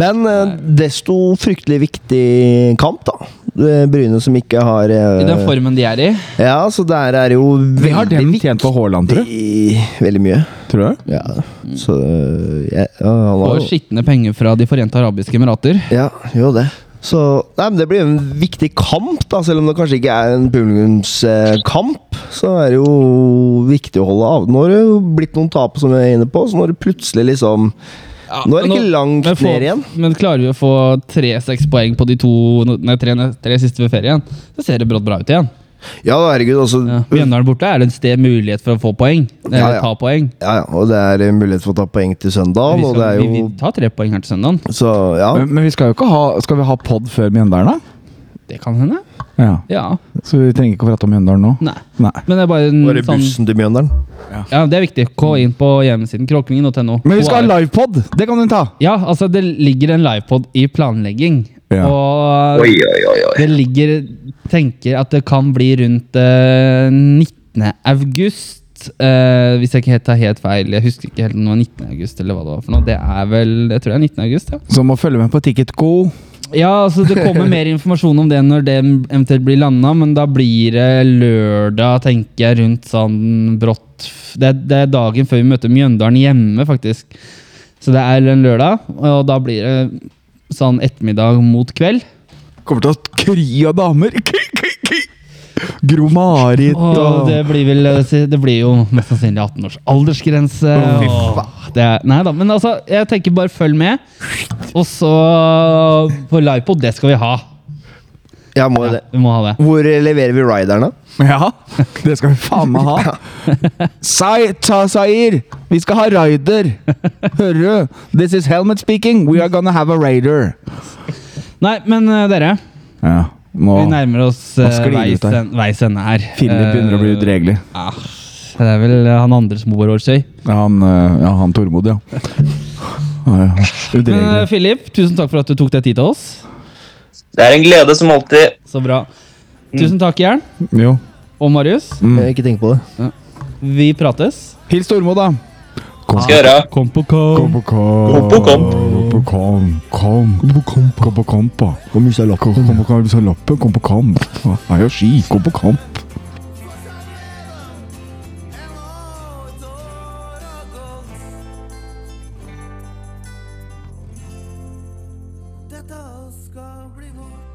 Men eh, desto fryktelig viktig kamp, da. Eh, Bryne som ikke har eh, I den formen de er i. Ja, så der er jo [LAUGHS] Vi har veldig dem tjent på Haaland, tror du? viktig Veldig mye. Tror du? Ja. Så eh, ja, ja, han var Mm. Får jo skitne penger fra De forente arabiske emirater. Ja, jo det. Så nei, men Det blir en viktig kamp, da, selv om det kanskje ikke er en publikumskamp. Så er det jo viktig å holde av. Nå har det jo blitt noen tap, som jeg er inne på, så nå er det plutselig liksom Nå er det ikke langt men få- ned igjen. Men klarer vi å få tre-seks poeng på de to, nei, tre, tre siste ved ferien, så ser det brått bra ut igjen. Ja, herregud, altså Ja. Mjøndalen borte er det et sted mulighet for å få poeng. Eller Ja, ja. ta poeng. Ja, ja, og det er mulighet for å ta poeng til søndag, Vi, og skal, det er vi, jo vi tar tre poeng her til søndagen. Så ja. Men, men vi skal jo ikke ha Skal vi ha pod før Mjøndalen, da? Det kan hende. Ja. Ja. Så vi trenger ikke å prate om Mjøndalen nå? Nei. Nei. Men det er bare en Bare sånn bussen til Mjøndalen. Ja, det er viktig. Gå inn på hjemmesiden kråklingen.no. Men vi skal Og- ha livepod! Det kan du ta! Ja, altså det ligger en livepod i planlegging. Ja. Og Oi, oi, oi. oi. det ligger Tenker at det kan bli rundt eh, 19. august. eh, hvis jeg ikke helt tar helt feil. Jeg husker ikke helt om det var 19. august eller hva det var. for noe Det er vel, jeg tror det er 19. august, ja. Så må følge med på Ticketco. Ja, altså Det kommer mer informasjon om det når det eventuelt blir landa, men da blir det lørdag, tenker jeg, rundt sånn brått Det, er- det er dagen før vi møter Mjøndalen hjemme, faktisk. Så det er en lørdag, og da blir det sånn ettermiddag mot kveld. Kommer til å kry av damer! Gro-Marit Og og det blir vel eh, si- Det blir jo mest sannsynlig 18 års aldersgrense. Å, fy Og det er, nei da, men altså, jeg tenker bare følg med. Og så på livepod, det skal vi ha. Jeg må jo Ja, det. vi må ha det. Hvor eh, leverer vi riderne? Ja, det skal vi faen meg ha! Sai, ta Sair! Vi skal ha raider! Hører du? This is Helmet speaking. We are gonna have a raider. Nei, men eh, dere. Ja, nå Vi nærmer oss eh, Nå sklir det veis ut her. en- veis ende her. Philip begynner å bli Eh, udregelig. ah, Det er vel eh, han andre som bor i Årsøy. Han, eh, ja, han Tormod, ja. Ja, ja. Men eh, Udregelig. Philip, tusen takk for at du tok deg tid til oss. Det er en glede som alltid. Så bra. Tusen takk, Jern Jo. og Marius. Mm. Eh, Ikke tenk på det. Vi prates. Hils Tormod, da. Ah. Skal jeg gjøre. Kom på kom. på kamp. Kom på kamp. Kom på kamp. Kom. Kom på kamp. Kom på kamp. da. Kom på kamp. Hvis jeg har lappen, kom på kamp. Jeg har ski. Kom på kamp. Dette skal bli vårt.